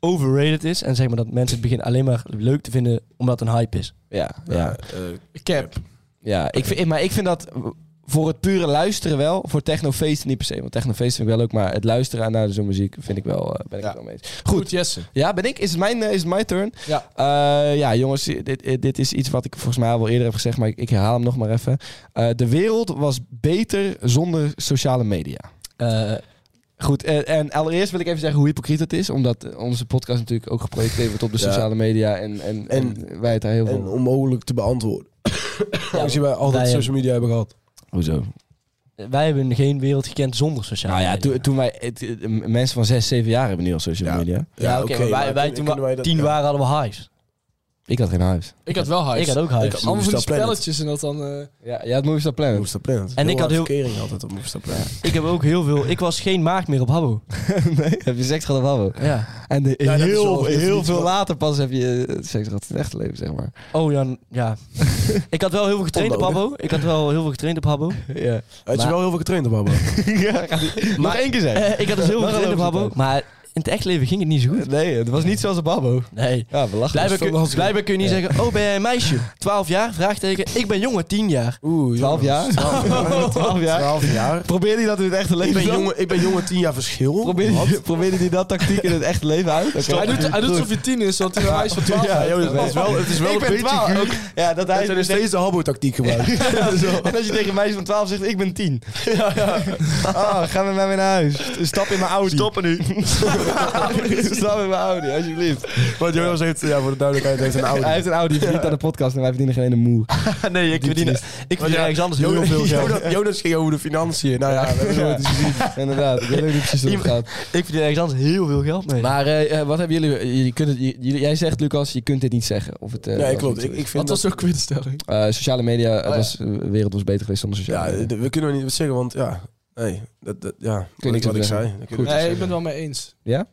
S4: overrated is en zeg maar dat mensen het begin alleen maar leuk te vinden omdat het een hype is.
S2: ja, ja,
S3: Eh, eh,
S5: Cap.
S2: ja. Ik vind, maar ik vind dat voor het pure luisteren wel, voor technofeesten niet per se. Want technofeesten vind ik wel leuk, maar het luisteren aan naar zo'n muziek vind ik wel, eh, ben ik
S5: Ja.
S2: het wel mee eens.
S5: Goed, Jesse.
S2: Ja, ben ik? Is het mijn, eh, is het mijn turn?
S5: Ja.
S2: Eh, ja, jongens, dit, dit is iets wat ik volgens mij al wel eerder heb gezegd, maar ik, ik herhaal hem nog maar even. Eh, de wereld was beter zonder sociale media.
S4: Eh,
S2: Goed, eh, en allereerst wil ik even zeggen hoe hypocriet het is, omdat eh, onze podcast natuurlijk ook geprojecteerd wordt op de
S3: Ja.
S2: sociale media en, en, en,
S3: En-
S2: wij het daar heel
S3: En
S2: veel...
S3: onmogelijk te beantwoorden. Aangezien wij altijd
S4: wij, eh,
S3: social media hebben gehad.
S2: Hoezo?
S4: wij hebben geen wereld gekend zonder sociale
S2: Nou ja,
S4: media.
S2: toen, toen wij... het- het- mensen van 6, 7 jaar hebben nu al social
S3: Ja.
S2: media.
S4: Ja, oké, maar wij, wij toen we tien waren hadden we highs.
S2: Ik had geen huis.
S5: Ik had wel hype.
S4: Ik had ook
S3: Ik
S4: highs.
S3: had-
S5: Allemaal van die
S3: Movistar Planet.
S5: spelletjes en dat dan... eh,
S2: Ja, ja het Movistar Planet.
S3: Movistar Planet.
S4: En ik had heel-
S3: verkering altijd op Movistar Planet.
S4: Ik heb ook heel veel. Ik was geen maagd meer op Habbo.
S2: nee, heb je seks gehad of wel?
S4: Ja.
S2: En de-
S3: Ja, dat is
S2: heel,
S3: wel- dat is
S2: heel
S3: niet
S2: veel
S3: wat-
S2: later pas heb je eh, seks gehad in het echte leven, zeg maar.
S4: Oh ja, ja. ik had wel heel veel getraind op
S3: Onnodig.
S4: Habbo. Ik had wel heel veel getraind op Habbo.
S2: Ja.
S3: Had je
S4: Maar-
S3: wel heel veel getraind op Abba?
S2: Nog één keer zeggen.
S4: Eh, ik had dus heel
S2: Dan
S4: veel getraind op
S2: geloven ze
S4: Habbo.
S2: het
S4: Maar in het echt leven ging het niet zo goed.
S2: Nee, het was niet zoals een babbo.
S4: Nee.
S2: Ja, we lachen.
S4: Blijkbaar kun, blijkbaar kun je niet
S2: Ja.
S4: zeggen, oh ben jij een meisje? 12 jaar? Vraagteken. Ik ben jongen, 10 jaar.
S3: Oeh,
S2: 12 jaar? 12 jaar.
S3: 12 jaar.
S2: Probeer die dat in het echte
S3: Ik
S2: leven
S3: ben,
S2: dan?
S3: jongen, ik ben jongen 10 jaar verschil.
S2: Probeer die, probeerde die dat tactiek in het echte leven uit? Oké.
S5: Hij doet, hij doet alsof hij tien is, want hij een huis van twaalf
S2: Ja,
S5: had.
S2: joh,
S3: Het is wel, het is wel
S2: Ik
S3: een
S2: ben
S3: beetje
S2: 12.
S3: guur
S2: Ja, dat
S3: dat
S2: hij...
S3: je nog steeds de Habbo-tactiek gebruikt.
S2: En als je tegen een meisje van 12 zegt, ik ben 10. Oh, ga met mij weer naar huis. Stap in mijn Audi. Stoppen nu. Stap in mijn Audi, alsjeblieft.
S3: Want Jonas heeft, ja, voor de duidelijkheid, heeft een
S2: Hij
S3: oude.
S2: heeft een Audi verdiend aan de podcast en wij verdienen geen ene moe.
S4: nee, ik verdien, ik verdien ergens anders heel veel geld.
S3: Jonas, Jonas ging over de financiën. Nou ja, we hebben nooit iets gezien.
S2: Inderdaad, ik weet ook niet precies hoe het gaat.
S4: Ik verdien ergens anders heel veel geld mee.
S2: Maar eh, eh, wat hebben jullie, jullie kunt het, jullie- jij zegt Lucas, je kunt dit niet zeggen. Of het, eh,
S3: Nee,
S2: of
S3: klopt.
S2: het zo
S3: Ik,
S2: is.
S3: ik vind
S5: Wat
S3: dat...
S5: was ook weer de stelling?
S2: Eh, sociale media, eh,
S3: ja.
S2: was, eh, de wereld was beter geweest zonder sociale
S3: Ja,
S2: media.
S3: d- we kunnen er niet wat zeggen, want ja... Nee, dat, dat, ja,
S2: Kun je niks
S3: wat ik
S2: op zeggen.
S3: zei. dat kun je
S2: Goed.
S3: niks
S5: Nee, ik
S3: op
S5: ben het wel mee eens.
S2: Ja?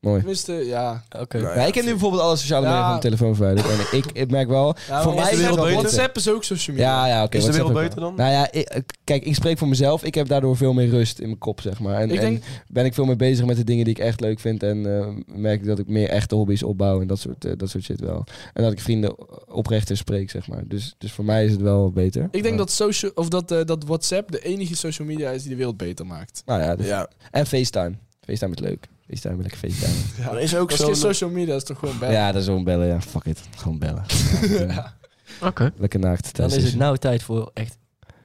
S2: Mooi.
S5: Tenminste, ja.
S4: Oké.
S3: zeggen.
S2: Ja, ik heb nu bijvoorbeeld alle sociale
S5: Ja.
S2: media van mijn telefoon verwijderd. En ik, ik merk wel...
S5: Ja,
S2: voor mij
S5: maar WhatsApp-
S2: is het wel beter.
S5: WhatsApp is ook social media.
S2: Ja, ja, oké.
S3: Is de
S2: WhatsApp
S3: wereld
S2: ook wel.
S3: beter dan?
S2: Nou ja, ik- eh, kijk, ik spreek voor mezelf. Ik heb daardoor veel meer rust in mijn kop, zeg maar. En,
S5: Ik
S2: en
S5: denk-
S2: ben ik veel meer bezig met de dingen die ik echt leuk vind. En eh, merk ik dat ik meer echte hobby's opbouw en dat soort, eh, dat soort shit wel. En dat ik vrienden oprechter spreek, zeg maar. Dus, dus voor mij is het wel beter.
S5: Ik denk dat, social, of dat, eh, dat WhatsApp de enige social media is die de wereld beter maakt.
S2: Nou ja, dus-
S3: Ja,
S2: En FaceTime. FaceTime is leuk. FaceTime wil ik FaceTime.
S3: maar er is ook
S5: Dat is geen
S3: zo'n... eh,
S5: social media, dat is toch gewoon bad.
S2: ja, dat is gewoon bellen. Ja, fuck it. Gewoon bellen.
S4: Oké.
S2: Lekker naakt.
S4: Dan
S2: thuis
S4: is het nou tijd voor echt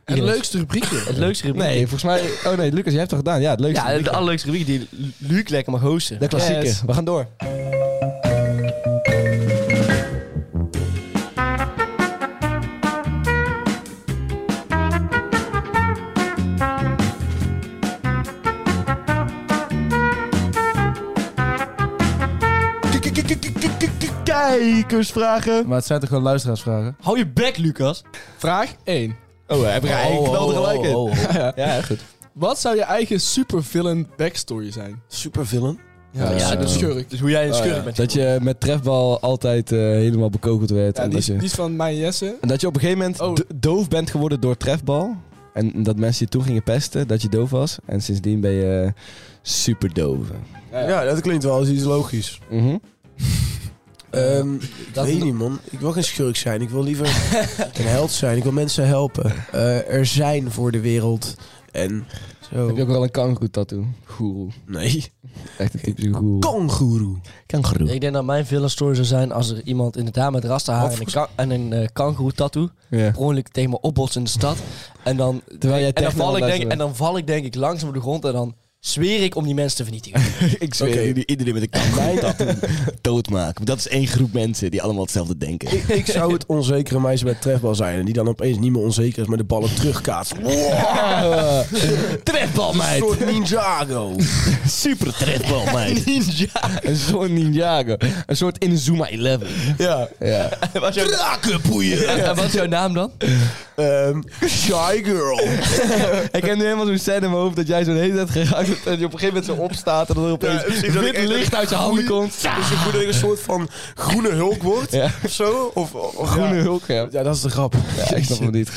S5: En het leukste rubriekje.
S4: het leukste rubriek.
S2: Nee, volgens mij... Oh nee, Lucas, jij hebt het toch gedaan? Ja, het leukste.
S4: nou- Ja, de allerleukste rubriek die Lu- Luc lekker mag hosten.
S2: de klassieker.
S5: Yes.
S2: We gaan door.
S4: Kijkersvragen.
S3: Maar het zijn toch gewoon luisteraarsvragen?
S4: Hou je bek, Lucas.
S5: Vraag 1.
S2: Oh, heb ik eigenlijk wel gelijk in.
S5: Ja.
S2: Ja, goed.
S5: Wat zou je eigen supervillain backstory zijn?
S3: Supervillain?
S5: Ja,
S2: ja,
S5: de
S2: zo.
S5: schurk.
S4: Dus hoe jij een
S3: Oh,
S4: schurk
S3: ja.
S4: bent.
S2: Dat je met trefbal altijd eh, helemaal bekogeld werd.
S5: Ja,
S2: en
S5: die,
S2: dat
S5: is,
S2: je,
S5: die is van mij en Jesse.
S2: en dat je op een gegeven moment
S5: Oh.
S2: do- doof bent geworden door trefbal. En dat mensen je toe gingen pesten dat je doof was. En sindsdien ben je super doof.
S5: Ja, ja.
S3: Ja, dat klinkt wel als iets logisch.
S2: Mhm.
S3: Ehm,
S4: dat-
S3: ik weet niet, man. Ik wil geen schurk zijn. Ik wil liever een held zijn. Ik wil mensen helpen. Eh, er zijn voor de wereld. En zo.
S2: Heb je ook wel een kangoeroe tattoo? Goeroe.
S3: Nee.
S2: Echt een typische goeroe.
S3: Kangoeroe.
S2: Kangoeroe.
S4: Ik denk dat mijn villain story zou zijn als er iemand inderdaad met rasterhaar en een, ka- en een eh, kangoeroe-tattoo
S2: Ja.
S4: per ongeluk tegen me opbotst in de stad. En dan,
S2: Terwijl jij
S4: en dan,
S2: techno
S4: val
S2: aan
S4: ik
S2: het
S4: denk,
S2: luisteren
S4: en dan val ik denk ik langzaam op de grond en dan zweer ik om die mensen te vernietigen.
S2: ik zweer
S3: Oké.
S2: jullie, iedereen met een kamp doodmaken. Dat is één groep mensen die allemaal hetzelfde denken.
S3: Ik, ik zou het onzekere meisje bij het trefbal zijn. En die dan opeens niet meer onzeker is, maar de ballen terugkaatst. Wow.
S2: Trefbal,
S3: Een
S2: meid!
S3: soort Ninjago.
S2: Super trefbal, meid! ninja! Een soort Ninjago. Een soort Inzuma 11.
S3: ja.
S2: Ja.
S4: was jouw,
S3: Krakenpoeien.
S4: en wat is jouw naam dan?
S3: Ehm, shy girl.
S2: Ik heb nu helemaal zo'n scène in mijn hoofd dat jij zo'n hele tijd geraakt hebt en je op een gegeven moment zo opstaat en dan er opeens wit licht uit je handen komt.
S3: Dus ik voel dat ik een soort van groene hulk word.
S2: Ja.
S3: Of zo. Of, of- of-
S2: Groene
S3: ja.
S2: hulk, ja.
S3: Ja, dat is de grap.
S2: Ja, ik snap hem niet.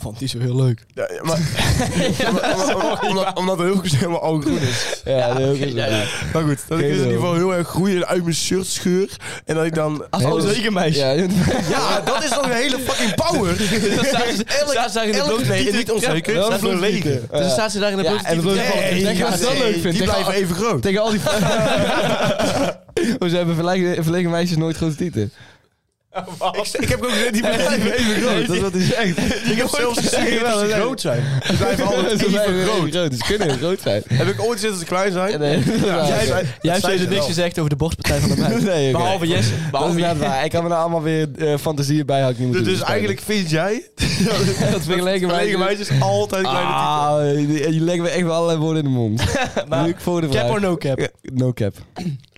S5: Vond die zo heel leuk.
S3: Ja, ja, maar, omdat- omdat, omdat, omdat de hulk dus helemaal al groen is.
S2: Ja, de hulk is wel goed.
S3: Maar goed, dat ik dus in
S2: Geen
S3: ieder geval heel erg groeien uit mijn shirt scheur. En dat ik dan...
S2: Nee,
S4: Oh,
S2: dat is-
S4: zeker meisje.
S2: Ja,
S3: Ah, Ja, dat is dan een hele fucking power.
S4: Dan staat ze- staat ze daar in de
S3: elke
S4: bloot- nee,
S3: titel
S4: niet
S3: onzeker,
S4: Ja,
S3: staat
S4: wel
S3: verlegen.
S4: verlegen.
S2: Ja.
S4: Dus staat ze daar in de
S2: Ja,
S4: bloot-
S2: en dat-
S4: Nee,
S2: Ik
S3: die
S2: denk dat
S3: blijven-
S2: ze dat leuk vindt.
S3: Die
S2: Tegen
S3: blijven
S2: al-
S3: even groot.
S2: Tegen al die... Oh, ze hebben verlegen, verlegen meisjes nooit grote tieten.
S3: Ik, ik heb ook gezegd, die blijven even groot.
S2: Dat is wat hij zegt.
S3: Ik heb zelfs gezegd
S2: Wel,
S3: dat ze
S2: nee.
S3: groot zijn. Ze blijven altijd
S2: Ze
S3: even
S2: blijven
S3: groot.
S2: groot. Ze kunnen heel groot zijn.
S3: Heb ik ooit gezegd dat ze klein zijn?
S2: Nee, dat is waar.
S4: Jij
S3: Jij zei- dat
S4: hebt
S3: zei
S4: steeds
S3: ze
S4: niks
S3: wel.
S4: gezegd over de borstpartij van de meid.
S2: Nee, oké.
S4: Behalve Jesse.
S2: Dat is
S4: Behalve
S2: inderdaad waar. Ik kan me nou allemaal weer eh, fantasieën bij had ik niet
S3: Dus,
S2: moeten
S3: dus
S2: doen.
S3: eigenlijk vind jij dat
S2: vergeleken
S3: vergeleken
S2: meisjes-
S3: meisjes altijd kleine typen.
S2: Ah, je, je legt me echt wel allerlei woorden in de mond.
S4: Maar
S2: Luc, volgende
S4: Cap
S2: vraag.
S4: or no cap?
S2: Ja, No cap.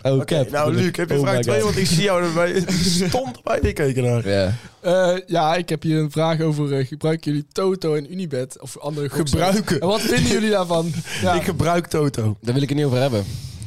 S2: Oh,
S3: Oké,
S2: cap.
S3: nou Luc, heb je
S2: Oh
S3: vraag
S2: my
S3: 2?
S2: God.
S3: Want ik zie jou erbij. Stond bij die keken naar.
S2: Ja.
S5: Eh, ja, ik heb hier een vraag over. eh, gebruiken jullie Toto en Unibet of andere goksels?
S3: Gebruiken.
S5: En wat vinden jullie daarvan? Ja.
S3: Ik gebruik Toto.
S2: Daar wil ik het niet over hebben.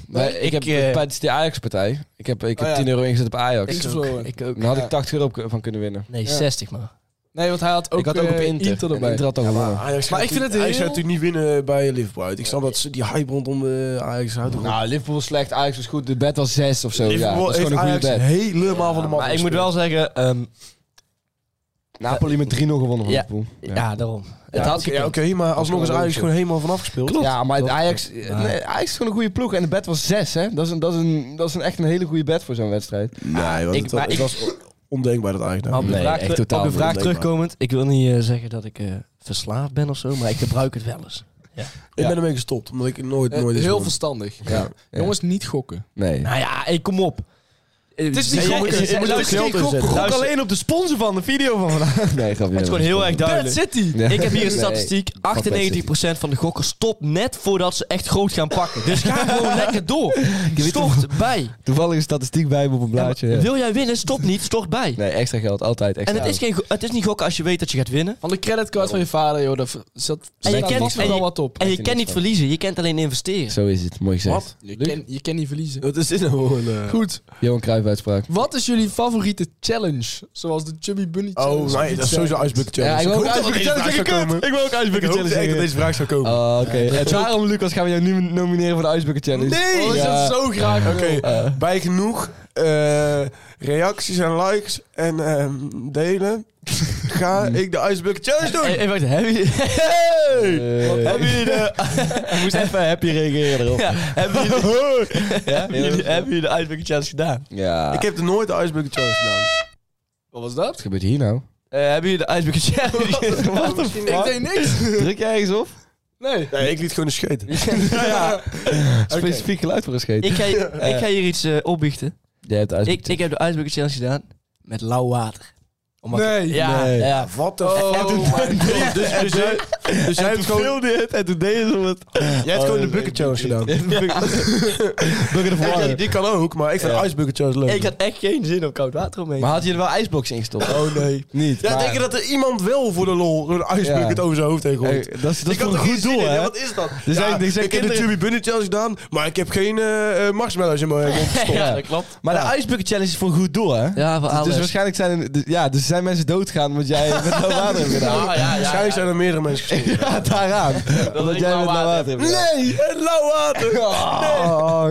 S2: Maar ik,
S4: ik,
S2: heb,
S4: eh,
S2: het is de Ajax-partij. Ik heb, ik heb
S5: Oh, ja.
S2: 10 euro ingezet op Ajax.
S5: Ik ook.
S4: Ik ook.
S2: Daar had
S5: Ja.
S2: ik 80 euro op- van kunnen winnen.
S4: Nee,
S5: Ja.
S4: 60 maar.
S5: Nee, want hij had ook,
S2: ik had ook op
S5: eh,
S2: Inter. En
S5: erbij.
S2: Inter had ook gewonnen.
S3: Ajax
S5: Maar ik vind het
S3: Hij
S5: heel-
S3: zou natuurlijk niet winnen bij Liverpool. uit. Ik snap dat ze die hype rondom de Ajax houdt.
S2: Nou, Liverpool was slecht, Ajax was goed. De bet was 6 of zo. ja, dat
S3: Liverpool
S2: is
S3: heeft
S2: gewoon een
S3: Ajax
S2: goede bet.
S3: helemaal van de mat
S4: Maar ik moet wel zeggen, ehm,
S2: Napoli met 3-0 gewonnen van
S4: Ja.
S2: Liverpool.
S4: ja. daarom.
S2: Ja,
S4: het had
S3: Oké,
S4: gekund.
S3: ja, oké, maar alsnog is
S2: wel
S3: Ajax
S2: leuk,
S3: gewoon helemaal vanaf gespeeld.
S2: Ja, maar het
S4: klopt.
S2: Ajax, eh,
S4: Ja.
S2: nee, Ajax is gewoon een goede ploeg. En de bet was 6, hè? Dat is, een, dat, is een, dat is een, echt een hele goede bet voor zo'n wedstrijd.
S3: Nee, want
S4: ik-
S3: het, was-
S4: maar
S3: het
S4: ik-
S3: was on- ondenkbaar dat Ajax
S4: Maar
S3: nou.
S4: Op de
S2: Nee,
S4: vraag,
S2: echt
S4: teru-
S2: totaal
S4: op de
S2: niet
S4: vraag
S3: leuk,
S4: terugkomend, ik wil niet eh, zeggen dat ik eh, verslaafd ben of zo, maar ik gebruik het wel eens.
S3: Ik
S2: Ja.
S3: ben ermee gestopt, omdat ik nooit,
S5: Eh,
S3: nooit... is
S5: heel
S3: gewonnen.
S5: verstandig.
S2: Ja.
S5: Jongens, niet gokken.
S2: Nee.
S4: Nou ja, hey, kom op. Eh, Het
S5: is niet gokken, je moet ook geld
S3: inzetten.
S4: Gok
S3: Luister.
S4: alleen op de sponsor van de video van vandaag.
S2: Nee, grapje.
S4: Het is gewoon heel erg
S5: Bad
S4: duidelijk.
S5: City!
S2: Ja.
S4: Ik heb hier een
S2: Nee.
S4: statistiek. 98% van de gokkers stopt net voordat ze echt groot gaan pakken. Dus ga gewoon lekker door.
S2: weet
S4: Stort bij.
S2: Toevallig een statistiek bij me op een blaadje. ja.
S4: Wil jij winnen? Stop niet. Stort bij.
S2: Nee, extra geld, altijd extra.
S4: En het is, geen, go- het is niet gokken als je weet dat je gaat winnen.
S5: Van de creditcard van je vader, joh, daar v- zat
S4: En je
S5: staat
S4: kent-
S5: vast nog
S4: en
S5: wel
S4: je-
S5: wat op.
S4: En je
S2: Weet je
S4: kan
S2: niks
S4: niet
S2: van.
S4: verliezen, je kent alleen investeren.
S2: Zo is het, mooi gezegd.
S3: Wat?
S5: Je kan, je kan niet verliezen.
S3: Wat is dit nou voor een... eh,
S5: Goed,
S2: Johan Cruijff uitspraak.
S5: wat is jullie favoriete challenge? Zoals de Chubby Bunny
S3: Oh,
S5: challenge.
S3: nee, dat is sowieso Iceberg Challenge.
S2: Ja, ik wou ook
S3: hoopte
S2: Iceberg
S3: dat
S2: Challenge,
S3: deze vraag zou komen.
S4: wil ook
S3: Ik
S4: ijsbucket
S3: hoopte echt dat deze vraag zou komen.
S2: Oh, oké. En daarom, Lucas, gaan we jou nu nomineren voor de Icebreaker Challenge.
S5: Oh, dat is
S2: Ja.
S5: zo graag.
S3: Oké, bij genoeg eh, reacties en likes en ehm, delen ga ik de Iceberg Challenge doen.
S4: Hey, hey, wacht, hebben jullie- Hey!
S2: eh,
S4: Hebben jullie de...
S2: Ik moest even happy eh, reageren erop.
S4: Ja, hebben jullie de... Ja, jullie-
S2: goed.
S4: hebben jullie de ijsbucket challenge gedaan?
S2: Ja.
S3: Ik
S2: Wat
S3: heb er nooit de Iceberg Challenge gedaan.
S5: Wat was dat?
S2: gebeurt hier nou?
S4: Eh, hebben jullie de ijsbucket challenge gedaan?
S5: Ik deed niks.
S2: Druk je ergens op?
S5: Nee.
S3: Nee, ik liet gewoon de scheet.
S2: Specifiek geluid voor een scheet.
S4: Ik ga, ik ga hier iets eh, opbiechten.
S2: Jij hebt
S4: Ik, ik heb de ijsbucket challenge gedaan met lauw water. Omdat ik-
S5: Nee.
S4: Ja,
S2: Nee.
S4: ja.
S3: Wat de
S4: Oh,
S3: fuck? Oh. Dus, dus, jij- dus jij hebt gewoon,
S4: dit en toen deden ze het. Oh,
S3: jij hebt gewoon de Bucket Challenge gedaan.
S2: Bucket of
S3: Ja, die, die kan ook, maar ik vind de Iceberg Challenge leuk.
S4: Ik had echt geen zin om koud water omheen.
S2: Maar had je er wel ijsblokjes in gestopt?
S3: Oh nee.
S2: Niet.
S3: Ja,
S2: maar-
S3: denk je dat er iemand wel voor de lol door de Iceberg
S2: Ja.
S3: het over zijn hoofd heen
S2: Hey,
S3: gooit?
S2: Eh, dat is, dat is
S3: Ik
S2: voor
S3: had
S2: een
S3: er geen
S2: goed
S3: zin
S2: doel,
S3: in,
S2: hè?
S3: hè? Wat is dat?
S2: Er zijn-
S3: Ja,
S2: er zijn
S3: ik heb de
S2: kinderen-
S3: Chubby Bunny Challenge gedaan, maar ik heb geen eh eh, marshmallows in mijn mond gestopt.
S4: Ja, dat klopt.
S2: Maar de ijsbucket challenge is voor een goed doel, hè?
S4: Ja, voor
S2: Dus
S4: alles.
S2: waarschijnlijk zijn er, dus- ja, dus er zijn mensen doodgaan omdat jij met lauw water hebt gedaan.
S4: Ah, ja, ja,
S3: Waarschijnlijk zijn er meerdere mensen gestopt.
S2: Ja, daaraan. Omdat
S4: ik
S2: jij
S4: lauw
S2: met lauw
S4: water
S2: water hebt gedaan.
S3: Nee, het lauw water.
S2: Oh.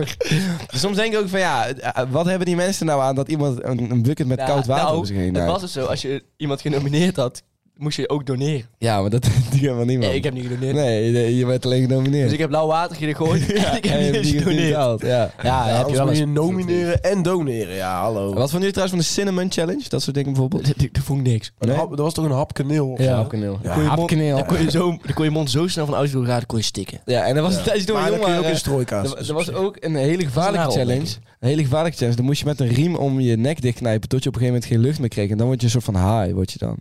S2: Soms denk ik ook van ja, eh, wat hebben die mensen nou aan dat iemand een, een bucket met
S4: Ja,
S2: koud water
S4: nou,
S2: over zich heen
S4: Dat
S2: houdt?
S4: was het zo. Als je iemand genomineerd had, moest je ook doneren.
S2: Ja, maar dat doet helemaal niemand.
S4: ik heb niet gedoneerd.
S2: Nee, nee, je werd alleen genomineerd.
S4: Dus ik heb lauw water gegoten en ik
S2: En je
S4: heb
S2: hebt
S4: niet
S2: niet
S4: gedoneerd.
S2: betaald, Ja.
S4: Ja,
S3: Ja,
S4: heb je wel
S3: moet
S4: eens.
S3: je nomineren en doneren. Ja, hallo.
S2: Wat vonden jullie trouwens van de Cinnamon Challenge? Dat soort dingen bijvoorbeeld?
S4: Dat- Dat vond ik niks.
S3: Een
S2: Nee?
S3: hap- dat was toch een hap kaneel?
S4: Ja.
S2: Hapkaneel.
S4: Dan kon je mond-
S2: Hapkaneel.
S4: Dan kon je, zo, dan kon je mond zo snel van uitvoer raden, kon je stikken.
S2: Ja, en er was een tijdje door
S3: Maar
S2: een
S3: dan kun je
S2: jongen...
S3: ook
S2: eh,
S3: in strooikaas.
S2: Er, er was ook een hele gevaarlijke
S4: Dat is een rare
S2: challenge. Een hele gevaarlijke challenge. Dan moest je met een riem om je nek dichtknijpen tot je op een gegeven moment geen lucht meer kreeg. En dan word je een soort van haai, word je dan.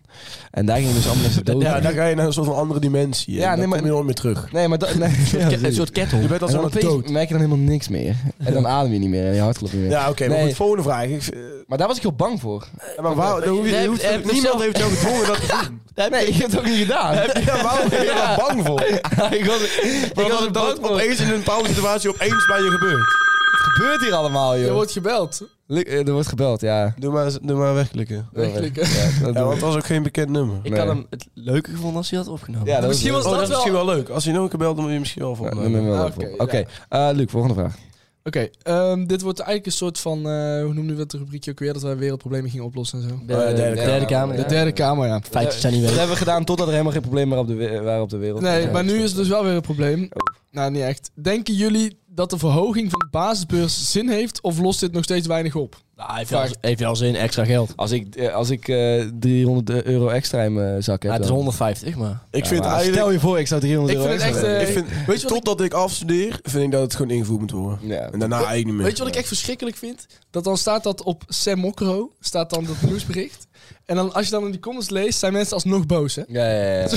S2: En daar gingen dus allemaal mensen dood.
S3: Ja, dan ga je naar een soort van andere dimensie.
S2: Ja,
S3: Ja,
S2: nee,
S3: dan
S2: maar-
S3: kom je nooit meer terug.
S2: Nee, maar dat... Nee, ja,
S4: Een soort ke- een
S2: precies.
S4: soort
S3: Je
S4: kettle.
S3: bent
S2: en
S3: als
S2: dan
S3: een
S2: opeens
S3: dood.
S2: merk je dan helemaal niks meer. En dan adem je niet meer en je hart klopt niet meer.
S3: Ja, oké, maar
S2: Nee. Eh,
S3: goed, volgende vraag. Ik, eh,
S2: Maar daar was ik heel bang voor.
S3: maar waar, dan hoef je,
S4: Heb-
S3: je hoeft-
S4: heb-
S3: niemand
S4: zelf-
S3: heeft jou gedwongen dat te doen.
S2: Nee, ik heb het ook niet gedaan.
S3: Ja, waarom ben je daar bang voor?
S2: ik was, ik
S3: Omdat
S2: was
S3: het
S2: er
S3: dan
S2: bang voor.
S3: opeens in een bepaalde situatie opeens bij je gebeurt.
S2: Wat gebeurt hier allemaal,
S5: Je
S2: joh?
S5: wordt gebeld.
S2: Lu- eh, Er wordt gebeld, ja.
S3: Doe maar, doe maar wegklikken.
S5: Werkelijk.
S2: Ja, dat doen
S3: Ja,
S2: we.
S3: want het was ook geen bekend nummer.
S4: Ik
S2: Nee.
S4: had hem het leuke gevonden als hij had opgenomen.
S2: Ja, dat
S4: misschien
S2: was-
S4: was
S3: Oh, dat
S4: dat
S3: is
S4: wel...
S3: misschien wel leuk. Als je nog een belt, dan moet je misschien wel
S2: Ja,
S3: van.
S2: dat doen we wel
S5: Ah,
S2: even.
S5: oké,
S2: Oké, eh, Luc, volgende vraag.
S5: Oké, ehm, dit wordt eigenlijk een soort van, eh, hoe noemden we dat rubriekje ook weer, dat wij wereldproblemen gingen oplossen en zo.
S4: De derde,
S2: Derde
S4: kamer.
S2: kamer,
S5: De derde kamer, ja.
S4: Feitjes zijn niet
S2: Dat
S4: weg.
S2: hebben we gedaan totdat er helemaal geen problemen meer op de, we- waren op de wereld.
S5: Nee,
S2: Ja,
S5: maar nu
S2: dus-
S5: is het dus wel weer een probleem.
S3: Oh.
S5: Nou, niet echt. Denken jullie dat de verhoging van de basisbeurs zin heeft of lost dit nog steeds weinig op?
S4: Nou, heeft wel- heeft wel zin, extra geld.
S2: Als ik, eh, als ik eh, 300 euro extra in mijn zak heb.
S4: Ja, het is
S2: dan-
S4: 150, maar...
S3: Ik
S2: Ja,
S3: vind
S2: maar
S3: eigenlijk.
S2: Stel je voor, ik zou 300
S5: Ik
S2: euro
S5: vind het
S2: extra
S5: echt,
S2: hebben.
S5: eh,
S3: Ik vind,
S5: Weet je wat
S3: totdat ik afstudeer, vind ik dat het gewoon ingevoerd moet worden.
S2: Ja.
S3: En daarna eigenlijk niet meer.
S5: Weet je wat ik echt verschrikkelijk vind? Dat dan staat dat op Sam Mokro, staat dan dat nieuwsbericht. En dan als je dan in die comments leest, zijn mensen alsnog boos, hè?
S2: Ja, ja, ja.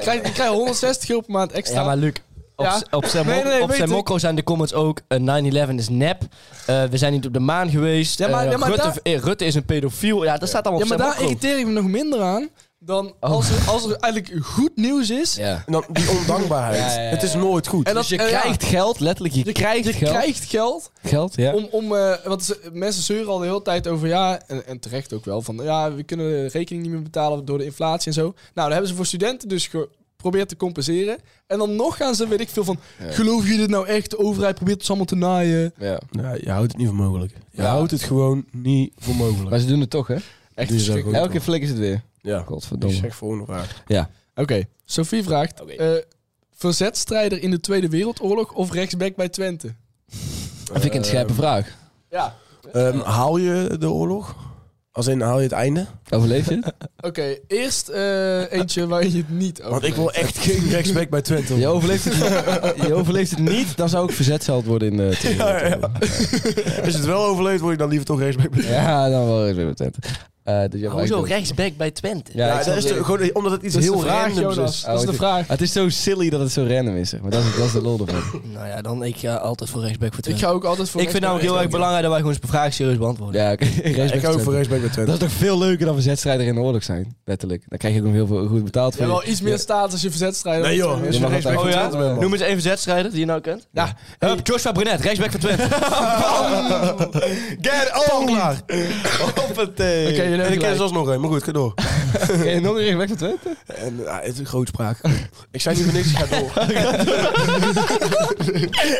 S5: Krijg, ik krijg 160 euro per maand extra.
S4: Ja, maar Luc, op,
S5: Ja.
S4: s- op zijn
S5: Nee, nee,
S4: op
S5: weet
S4: zijn
S5: ik.
S4: mokko zijn de comments ook... eh, 9-11 is nep. eh, we zijn niet op de maan geweest.
S5: Ja, maar-
S4: eh,
S5: ja, maar
S4: Rutte,
S5: daar-
S4: eh, Rutte is een pedofiel. Ja, dat staat allemaal
S5: Ja,
S4: op
S5: maar
S4: zijn
S5: daar irriteer ik me nog minder aan dan als er, als er eigenlijk goed nieuws is.
S2: Oh. Ja.
S3: En dan die ondankbaarheid.
S2: Ja, ja, ja.
S3: Het is nooit goed.
S5: En dat,
S2: Dus je
S5: eh, ja,
S2: krijgt geld, letterlijk. Je,
S5: je
S2: krijgt
S5: je
S2: geld.
S5: krijgt geld
S2: Geld, ja.
S5: om, om eh, want ze- mensen zeuren al de hele tijd over ja, en, en terecht ook wel, van ja, we kunnen de rekening niet meer betalen door de inflatie en zo. Nou, dat hebben ze voor studenten dus geprobeerd te compenseren. En dan nog gaan ze, weet ik veel van, geloof je dit nou echt? De overheid probeert ons allemaal te naaien.
S2: ja.
S3: Ja, je houdt het niet voor mogelijk. Je
S2: Ja.
S3: houdt het gewoon niet voor mogelijk.
S2: Maar ze doen het toch, hè?
S5: Echt
S3: Die is ook
S5: verschrikkelijk.
S3: goed.
S2: Elke keer flikken ze het weer.
S3: Ja. Ik
S2: Godverdomme.
S3: zeg volgende vraag.
S5: Oké, Sophie vraagt, eh, verzetstrijder in de Tweede Wereldoorlog of rechtsback bij Twente?
S2: Dat vind ik een scherpe vraag.
S5: Ja,
S3: Ehm, haal je de oorlog? Als in, haal je het einde?
S2: Overleef je het?
S5: oké. Eerst eh, eentje waarin je het niet over
S3: Want ik wil echt geen rechtsback bij Twente.
S2: Je overleeft het, je overleeft het niet, dan zou ik verzetsheld worden in eh, de tweede
S3: Ja,
S2: wereldoorlog.
S3: Is het wel overleefd, word ik dan liever toch rechtsback bij Twente.
S2: Ja, dan wel eens weer met Twente. Eh, dus jij hebt
S4: Hoezo
S2: eigenlijk-
S4: rechtsback bij Twente?
S2: Ja, ik
S3: Ja,
S2: snap
S3: dat is
S2: het.
S3: toch gewoon, omdat het iets
S5: Dat is de
S3: heel
S5: vraag,
S3: randoms
S5: Jonas.
S3: is.
S5: Dat is de
S2: Oh, ik-
S5: vraag.
S2: Het is zo silly dat het zo random is, zeg maar. Dat is, dat is de lol ervan.
S4: Nou ja, dan ik ga altijd voor rechtsback voor
S5: Ik
S4: Twente. Ik,
S5: ga ook altijd voor
S4: vind namelijk heel erg belangrijk dat wij gewoon eens vraag serieus beantwoorden.
S2: Ja, oké.
S3: ik ga ook voor rechtsback bij
S2: Dat
S3: Twente.
S2: is toch veel leuker dan verzetstrijder in de oorlog zijn, letterlijk. Dan krijg je ook nog heel veel goed betaald
S5: Je
S2: voor.
S5: hebt
S2: je-
S5: wel iets meer status als je verzetstrijder
S3: Nee
S5: bent.
S3: joh, als
S2: Je
S3: je
S2: mag
S3: rechtsback
S2: het
S3: bij
S4: eigenlijk-
S3: Twente bent, man.
S4: Oh Noem eens één verzetstrijder die je nou kent.
S5: Ja.
S4: eh, Hup, Joshua Brunet, rechtsback voor Twente.
S3: Get on! Klaar.
S4: Hoppatee.
S5: Oké, jullie
S3: En ik
S5: hebben
S3: ken
S5: gelijk.
S3: zelfs nog een, maar goed, ga door.
S2: Ken je nog een rechtback van Twente?
S3: En, ja, het is een grootspraak. ik zei niet voor niks, ik ga door.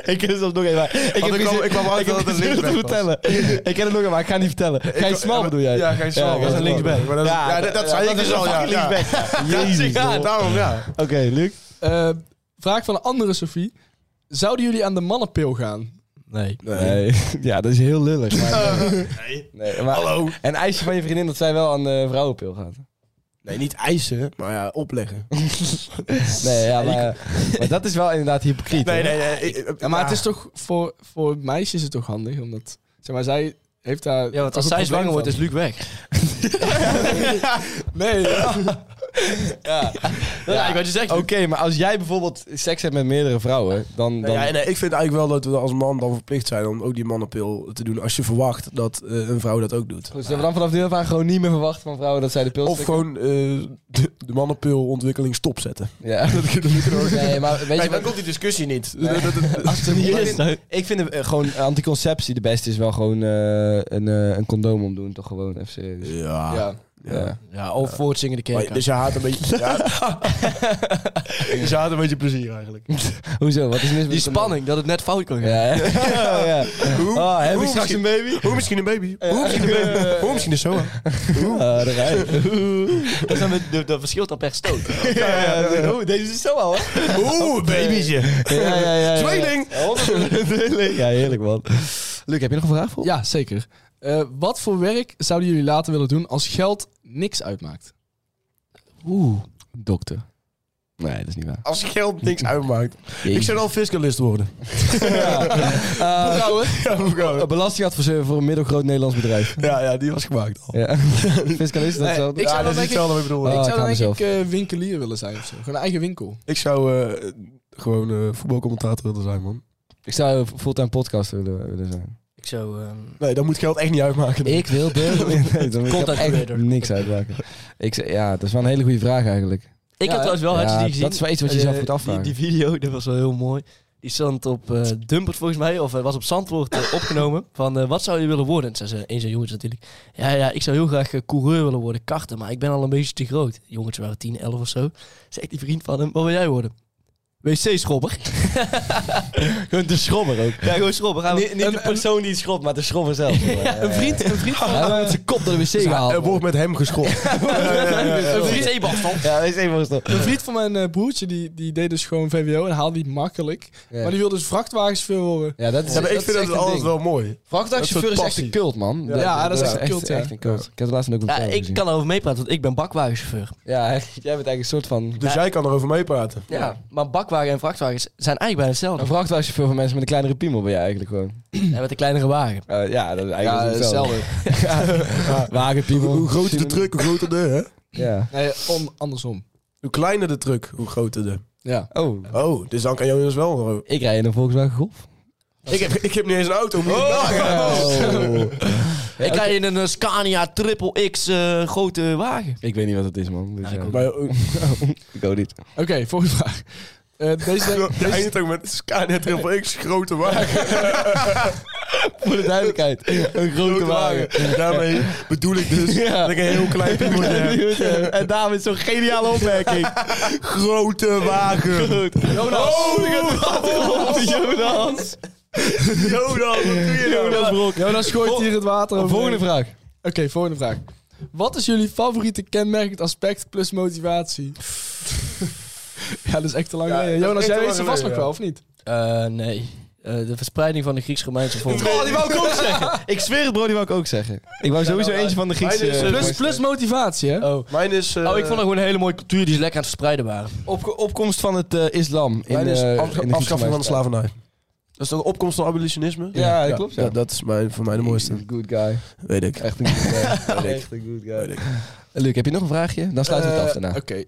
S2: Ik ken het zelfs nog even. Ik
S3: ik kwam- ik kwam uit dat het een
S2: Ik
S3: linksback
S2: het
S3: was.
S2: vertellen. Ik ken het nog even, maar ik ga het niet vertellen. Ga je smal bedoel jij?
S3: Ja, Gijs Smal.
S2: Ja, Gijs
S3: Dat is
S2: Smal.
S3: linksback. Maar dat is- ja, dat- dat zei ik dus
S2: is
S3: al, ja,
S2: fucking
S3: ja.
S2: linksback. Jezus.
S3: Ja,
S2: joh.
S3: daarom ja.
S2: Oké, Luc.
S5: Eh, vraag van een andere Sophie. Zouden jullie aan de mannenpil gaan?
S4: Nee.
S2: Nee. Ja, dat is heel lullig. maar- Nee, maar-
S3: Hallo.
S2: En eisje van je vriendin dat zij wel aan de vrouwenpil gaat.
S3: Nee, niet eisen, maar ja, opleggen.
S2: Nee, ja, maar, maar dat is wel inderdaad hypocriet. hè?
S3: nee. ik-
S5: Ja, maar het is toch voor, voor meisjes is het toch handig? Omdat, zeg maar, zij heeft daar...
S4: Ja, want
S5: toch
S4: als zij
S5: een probleem
S4: zwanger wordt,
S5: van.
S4: is Luc weg.
S5: Nee, ja.
S4: Ja, ik weet je zegt.
S2: Oké, maar als jij bijvoorbeeld seks hebt met meerdere vrouwen, dan... dan...
S3: Nou ja, nee, ik vind eigenlijk wel dat we als man dan verplicht zijn om ook die mannenpil te doen. Als je verwacht dat eh, een vrouw dat ook doet.
S2: Goed, zullen we dan vanaf nu af aan gewoon niet meer verwachten van vrouwen dat zij de pil
S3: Of
S2: slikken?
S3: gewoon eh, de, de mannenpilontwikkeling stopzetten.
S2: Ja. nee, maar weet je wat?
S3: komt die discussie niet.
S2: Als het er niet
S4: Yes.
S2: is, ik vind eh, gewoon anticonceptie de beste is wel gewoon eh, een, eh, een condoom omdoen, toch gewoon even serieus.
S3: Ja.
S5: ja.
S2: Ja.
S4: Ja, of voor het zingen de
S3: Maar
S4: kerk.
S3: dus je haat een beetje... ja.
S4: eh,
S3: dus je haat een beetje plezier eigenlijk.
S2: Hoezo? Wat is mis met
S4: Die
S2: de-
S4: spanning, dat het net fout kon gaan.
S2: Ja, hè? Oh, ja.
S3: Ah,
S2: Oh, heb ik straks een baby?
S3: Hoe misschien een baby? Hoe misschien een baby? Hoe misschien een soa?
S2: Oh, daar ga je.
S4: Dat, is dan met- dat- dat verschilt dan per stoot.
S2: Oh, deze is zo al, hè?
S3: Oeh, babytje.
S2: Ja, ja, ja. ja.
S3: Tweeling.
S2: Tweeling. Ja, heerlijk, man. Luc, heb je nog een vraag voor?
S5: Ja, zeker. Eh, wat voor werk zouden jullie later willen doen als geld niks uitmaakt?
S2: Oeh. Dokter. Nee, dat is niet waar.
S3: Als geld niks uitmaakt. Ik zou dan fiscalist worden.
S2: Eh,
S3: Ja,
S2: een belastingadviseur voor een middelgroot Nederlands bedrijf.
S3: ja, ja, die was gemaakt al.
S2: Ja. Fiscalist, dat
S5: Nee,
S2: zo.
S5: ik
S3: ja,
S5: zou
S3: Ah, dat
S5: dan
S3: is
S5: denk ik-
S3: hetzelfde wat ik bedoel.
S2: Oh,
S5: Ah, ik
S2: ik
S5: zou
S2: hou
S5: dan denk ik eh, winkelier willen zijn of zo. Gewoon een eigen winkel.
S3: Ik zou eh, gewoon eh, voetbalcommentator willen zijn, man.
S2: Ik zou een fulltime podcaster willen, willen zijn.
S4: Ik zou...
S3: Nee, dat moet geld echt niet uitmaken.
S2: Ik wil beelden. Nee, dan
S4: Content
S2: kan ik echt
S4: creator.
S2: niks uitmaken. Ik, zeg- ja, dat is wel een hele goede vraag eigenlijk.
S4: Ik had trouwens wel, had je
S2: Ja,
S4: die gezien?
S2: dat is wel iets wat je
S4: Eh,
S2: zelf moet
S4: die-
S2: afvragen.
S4: Die, video, dat was wel heel mooi. Die stond op eh Dumpert volgens mij, of eh, was op Zandwoord eh, opgenomen. Van eh, wat zou je willen worden? En zei ze, een zijn jongens natuurlijk. Ja, ja, ik zou heel graag eh, coureur willen worden, karten, maar ik ben al een beetje te groot. Die jongens waren 10, 11 of zo. Zegt die vriend van hem, wat wil jij worden? WC-schrobber.
S2: Gewoon de schrobber ook.
S4: Ja, gewoon schrobber. Hij-
S2: de persoon die schrobt, maar de schrobber zelf.
S4: Ja, een vriend, een vriend van
S2: Hij heeft met zijn kop door de wc gehaald.
S3: Er wordt met hem geschopt.
S4: een wc-bastard.
S2: Ja, dat is even wat
S5: Een vriend van mijn eh, broertje, die, die deed dus gewoon VWO en haalde die makkelijk.
S2: Ja.
S5: Maar die wilde dus vrachtwagenchauffeur worden.
S2: Ja, dat is,
S3: Ja, maar ik
S2: dat
S3: vind
S2: is
S3: dat
S2: echt een
S3: altijd
S2: ding.
S3: wel mooi.
S2: Vrachtwagenchauffeur is
S3: Dat soort
S2: echt een
S3: passie.
S2: cult, man.
S5: Ja, dat is echt een cult, ja.
S2: echt een cult. Ik heb het laatst ook een
S4: Ja,
S2: film
S4: ik
S2: gezien.
S4: kan erover meepraten, want ik ben bakwagenchauffeur.
S2: Ja, jij bent eigenlijk een soort van...
S3: Dus jij kan erover meepraten.
S4: Ja. Maar bakwagen en vrachtwagens zijn eigenlijk bijna hetzelfde.
S2: Een vrachtwagenchauffeur van mensen met een kleinere piemel ben je eigenlijk gewoon.
S4: Ja, met een kleinere wagen.
S2: Eh, ja, dat is eigenlijk
S5: eh,
S2: hetzelfde. Ja. Wagenpiemel.
S3: Hoe groter de truck, hoe groter de, hè?
S2: Ja.
S5: Nee, om, andersom.
S3: Hoe kleiner de truck, hoe groter de.
S5: Ja.
S2: Oh,
S3: Oh, dus dan kan Jonas wel erover.
S2: ik rij in een Volkswagen Golf.
S3: Ik heb, ik heb niet eens een auto. moet je nagaan.
S2: Oh.
S4: ik rij in een eh, Scania Triple X eh, grote wagen.
S2: Ik weet niet wat het is, man. Dus, ja, ik,
S3: Maar eh,
S2: ook niet.
S5: Oké, volgende vraag. Eh, deze,
S3: je eindigt ook met Scania Triple X, grote wagen.
S2: Voor de duidelijkheid. Een grote wagen.
S3: Daarmee bedoel ik dus dat ik een heel klein piemeltje heb.
S2: en daarom is zo'n geniale opmerking.
S3: Grote wagen.
S2: Jonas. Jonas.
S3: Jonas, wat doe je nou?
S2: Jonas Brok.
S5: Jonas gooit hier het water over.
S2: Volgende vraag.
S5: Oké, volgende vraag. Wat is jullie favoriete kenmerkend aspect plus motivatie? ja, dat is echt te lang
S3: Ja,
S5: geleden.
S3: dat is
S5: Jonas,
S3: echt
S5: jij
S3: te lang
S5: weet ze vast nog
S3: geleden,
S5: wel, of niet?
S4: Eh, nee. Eh, de verspreiding van de Grieks-Romeinse volk.
S2: die wou ik ook zeggen. Ik zweer het, bro, die wou ik ook zeggen. Ik wou sowieso eentje van de Griekse...
S3: Mijn is-
S2: eh,
S5: Plus, plus motivatie, hè?
S4: Oh.
S3: Mijn is... eh,
S4: oh, ik vond dat gewoon een hele mooie cultuur die ze lekker aan het verspreiden waren.
S2: opko- opkomst van het eh, islam in,
S3: Mijn is
S2: eh,
S3: afscha-
S2: in de
S3: afschaffing dus van de
S2: slavernij.
S3: slavernij. Dat is toch de opkomst van abolitionisme?
S2: Ja, dat klopt, ja.
S3: Dat, dat is mijn, voor mij de mooiste.
S2: Good guy.
S3: Weet ik.
S2: Echt een good guy. Echt een good guy. Luc, heb je nog een vraagje? Dan sluiten we het af
S5: Eh,
S2: daarna.
S5: Oké.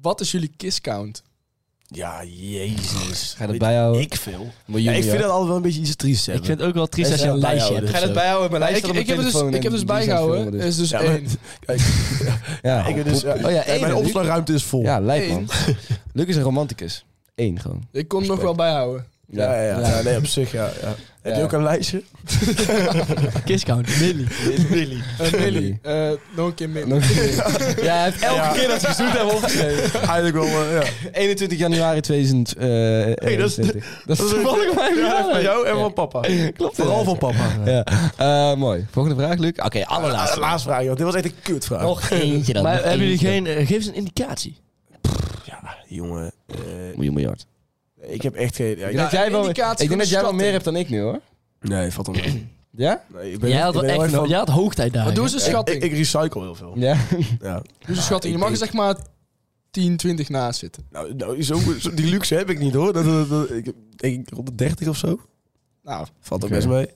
S5: Wat is jullie kiss count?
S3: Ja, jezus.
S2: Ga je dat
S3: Weet
S2: bijhouden? eh,
S3: Ik veel.
S2: Miljoenen,
S3: ik vind
S2: ja.
S3: dat altijd wel een beetje iets triest hebben.
S4: Ik vind het ook wel triest als je een lijstje hebt.
S2: Ga je dat bijhouden? Mijn lijst
S5: ik,
S2: staat op
S5: ik, heb
S2: mijn
S5: het dus,
S2: telefoon
S5: ik heb
S2: en
S5: dus
S2: die zijn
S5: bijgehouden.
S2: filmen
S5: is dus
S3: Ja, maar-
S5: één.
S2: Ja,
S3: ik ben dus, ja,
S2: oh ja, één.
S3: mijn
S2: hè, Luc?
S3: opslagruimte is vol.
S2: Ja, lijp man. Luc is een romanticus. Eén gewoon.
S5: Ik kon hem nog wel bijhouden.
S3: ja, ja, ja. Ja, nee, op zich, ja. ja. Heb je ook een lijstje?
S4: Kisscount. Millie. Millie.
S5: Eh Millie, eh, nog een keer Millie.
S2: Nog- Ja, hij heeft elke
S3: Ja.
S2: keer dat ze gezoend hebben opgeschreven.
S3: Eigenlijk wel, eh, ja.
S2: 21 januari 2000. eh,
S3: Hey, dat is de-
S2: 21. dat is toevallig mijn
S3: Ja,
S2: verjaardag.
S3: van jou en van papa.
S2: Klopt.
S3: Vooral van papa.
S2: Ja. Eh, mooi. Volgende vraag, Luc. Oké, allerlaatste.
S3: Laatste, laatste vraag, joh. Dit was echt een kutvraag.
S2: Nog eentje dan.
S4: Maar hebben jullie geen... eh, geef eens een indicatie.
S3: Ja, jongen. eh,
S2: Miljoen miljard.
S3: ik heb echt geen... Ja,
S2: Ik
S3: ik-
S2: denk dat jij wel, ik
S5: indicatie
S2: denk
S5: van
S2: dat jij wel
S5: schatting.
S2: meer hebt dan ik nu, hoor.
S3: Nee, valt onder.
S2: Ja?
S3: Nee, ik ben,
S4: Jij had,
S3: ik
S4: wel
S3: ben heel
S4: echt,
S3: erg van-
S4: jij had hoogtijdagen.
S5: Maar doe eens een
S3: ik,
S5: schatting.
S3: ik recycle heel veel.
S2: Ja.
S3: Ja.
S5: Doe eens een schatting. Dus Je mag er zeg maar 10, 20 naast zitten.
S3: Nou, nou zo, zo- die luxe heb ik niet hoor. Dat, dat- dat- ik denk ik rond de 30 of zo.
S5: Nou,
S3: Valt ook
S2: Oké.
S3: best mee.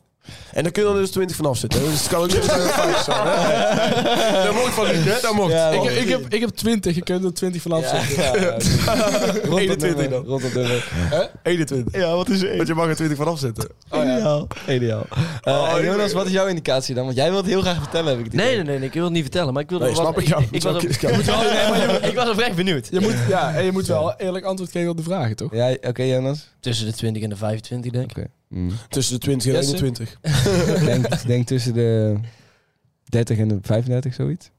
S3: En dan kun je er dus 20 vanaf zitten. hè. Dus het kan ook niet zo fout zijn. hè. Dat mocht van Luc, hè? Dat mocht.
S2: Ja,
S5: ik, heb- ik, heb, ik heb 20. Je kunt er 20 vanaf zitten.
S2: Rond
S3: 21 dan.
S2: Rond op
S3: 21. Ja, wat is er? Want je mag er 20 vanaf zitten.
S2: Ideaal. Oh, Ideaal. Eh,
S3: Oh,
S2: en Jonas,
S3: jongen.
S2: wat is jouw indicatie dan? Want jij wilt heel graag vertellen, heb ik het
S4: Nee,
S2: idee.
S4: nee, nee, nee, Ik wil het niet vertellen, maar ik wil...
S3: Nee,
S4: er wel-
S3: snap ik. Ja,
S4: Ik, ik was
S3: Oké,
S4: op-
S3: ik
S4: Oh, nee, maar je- ik was oprecht benieuwd.
S5: Je moet, ja, en je moet wel eerlijk antwoord geven op de vragen, toch?
S2: Ja, oké Jonas.
S4: Tussen de 20 en de 25, denk ik.
S2: Oké. Mm.
S3: Tussen de 20 en
S5: Jesse?
S3: 21.
S2: denk, denk tussen de 30 en de 35, zoiets.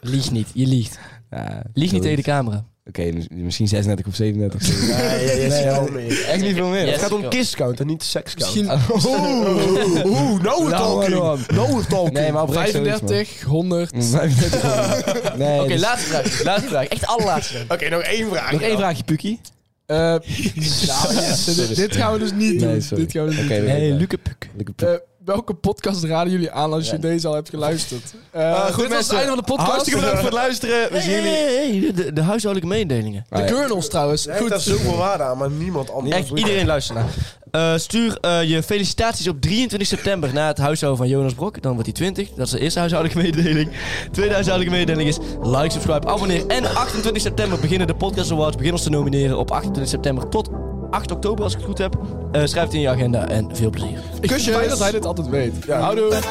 S4: Lieg niet, je liegt.
S2: Ja,
S4: Lieg niet
S2: zoiets.
S4: tegen de camera.
S2: Oké, mis- misschien 36 of 37.
S3: Nee, ja, ja,
S2: Nee,
S3: ja,
S2: al- Echt niet veel meer.
S4: Yes.
S3: Het gaat om kisscount en niet sekscount.
S5: Misschien
S3: Oeh, oeh, oeh, nou
S2: Nou,
S3: het talking.
S2: man.
S3: Nou het talking.
S2: Nee, maar oprecht zoiets, man. Mm.
S5: 35, 100.
S2: 35 euro. Nee,
S4: Oké,
S2: dus-
S4: laatste vraag. Laatste vraag. Echt allerlaatste vraag.
S3: Oké, nog één vraag.
S2: Nog één vraagje, Pukie.
S5: Eh, nou, yes, dit, dit gaan we dus niet doen.
S2: Nee, sorry.
S5: dit gaan we dus niet
S2: Oké,
S5: doen.
S2: nog één vraag.
S4: Puk.
S2: Lekker Puk.
S5: Eh, welke podcast raden jullie aan als je deze al hebt geluisterd? Eh
S3: goed,
S5: goed, dit was
S3: mensen.
S5: het einde van de podcast.
S3: Hartstikke bedankt voor het luisteren. We
S4: Hey,
S3: zien jullie.
S4: hey, hey, de- de, de huishoudelijke mededelingen.
S5: De
S2: Ah, ja.
S5: Gurnels trouwens.
S3: Hij heeft daar zoveel waarde aan, maar niemand anders.
S4: Echt, iedereen luistert naar. Eh, stuur eh, je felicitaties op 23 september naar het huishouden van Jonas Brok. Dan wordt hij 20. Dat is de eerste huishoudelijke mededeling. Tweede huishoudelijke mededeling is like, subscribe, abonneer. En 28 september beginnen de Podcast Awards. Begin ons te nomineren op 28 september tot 8 oktober, als ik het goed heb. Eh, schrijf het in je agenda en veel plezier.
S5: Ik vind het fijn dat hij dit altijd weet. Houdoe.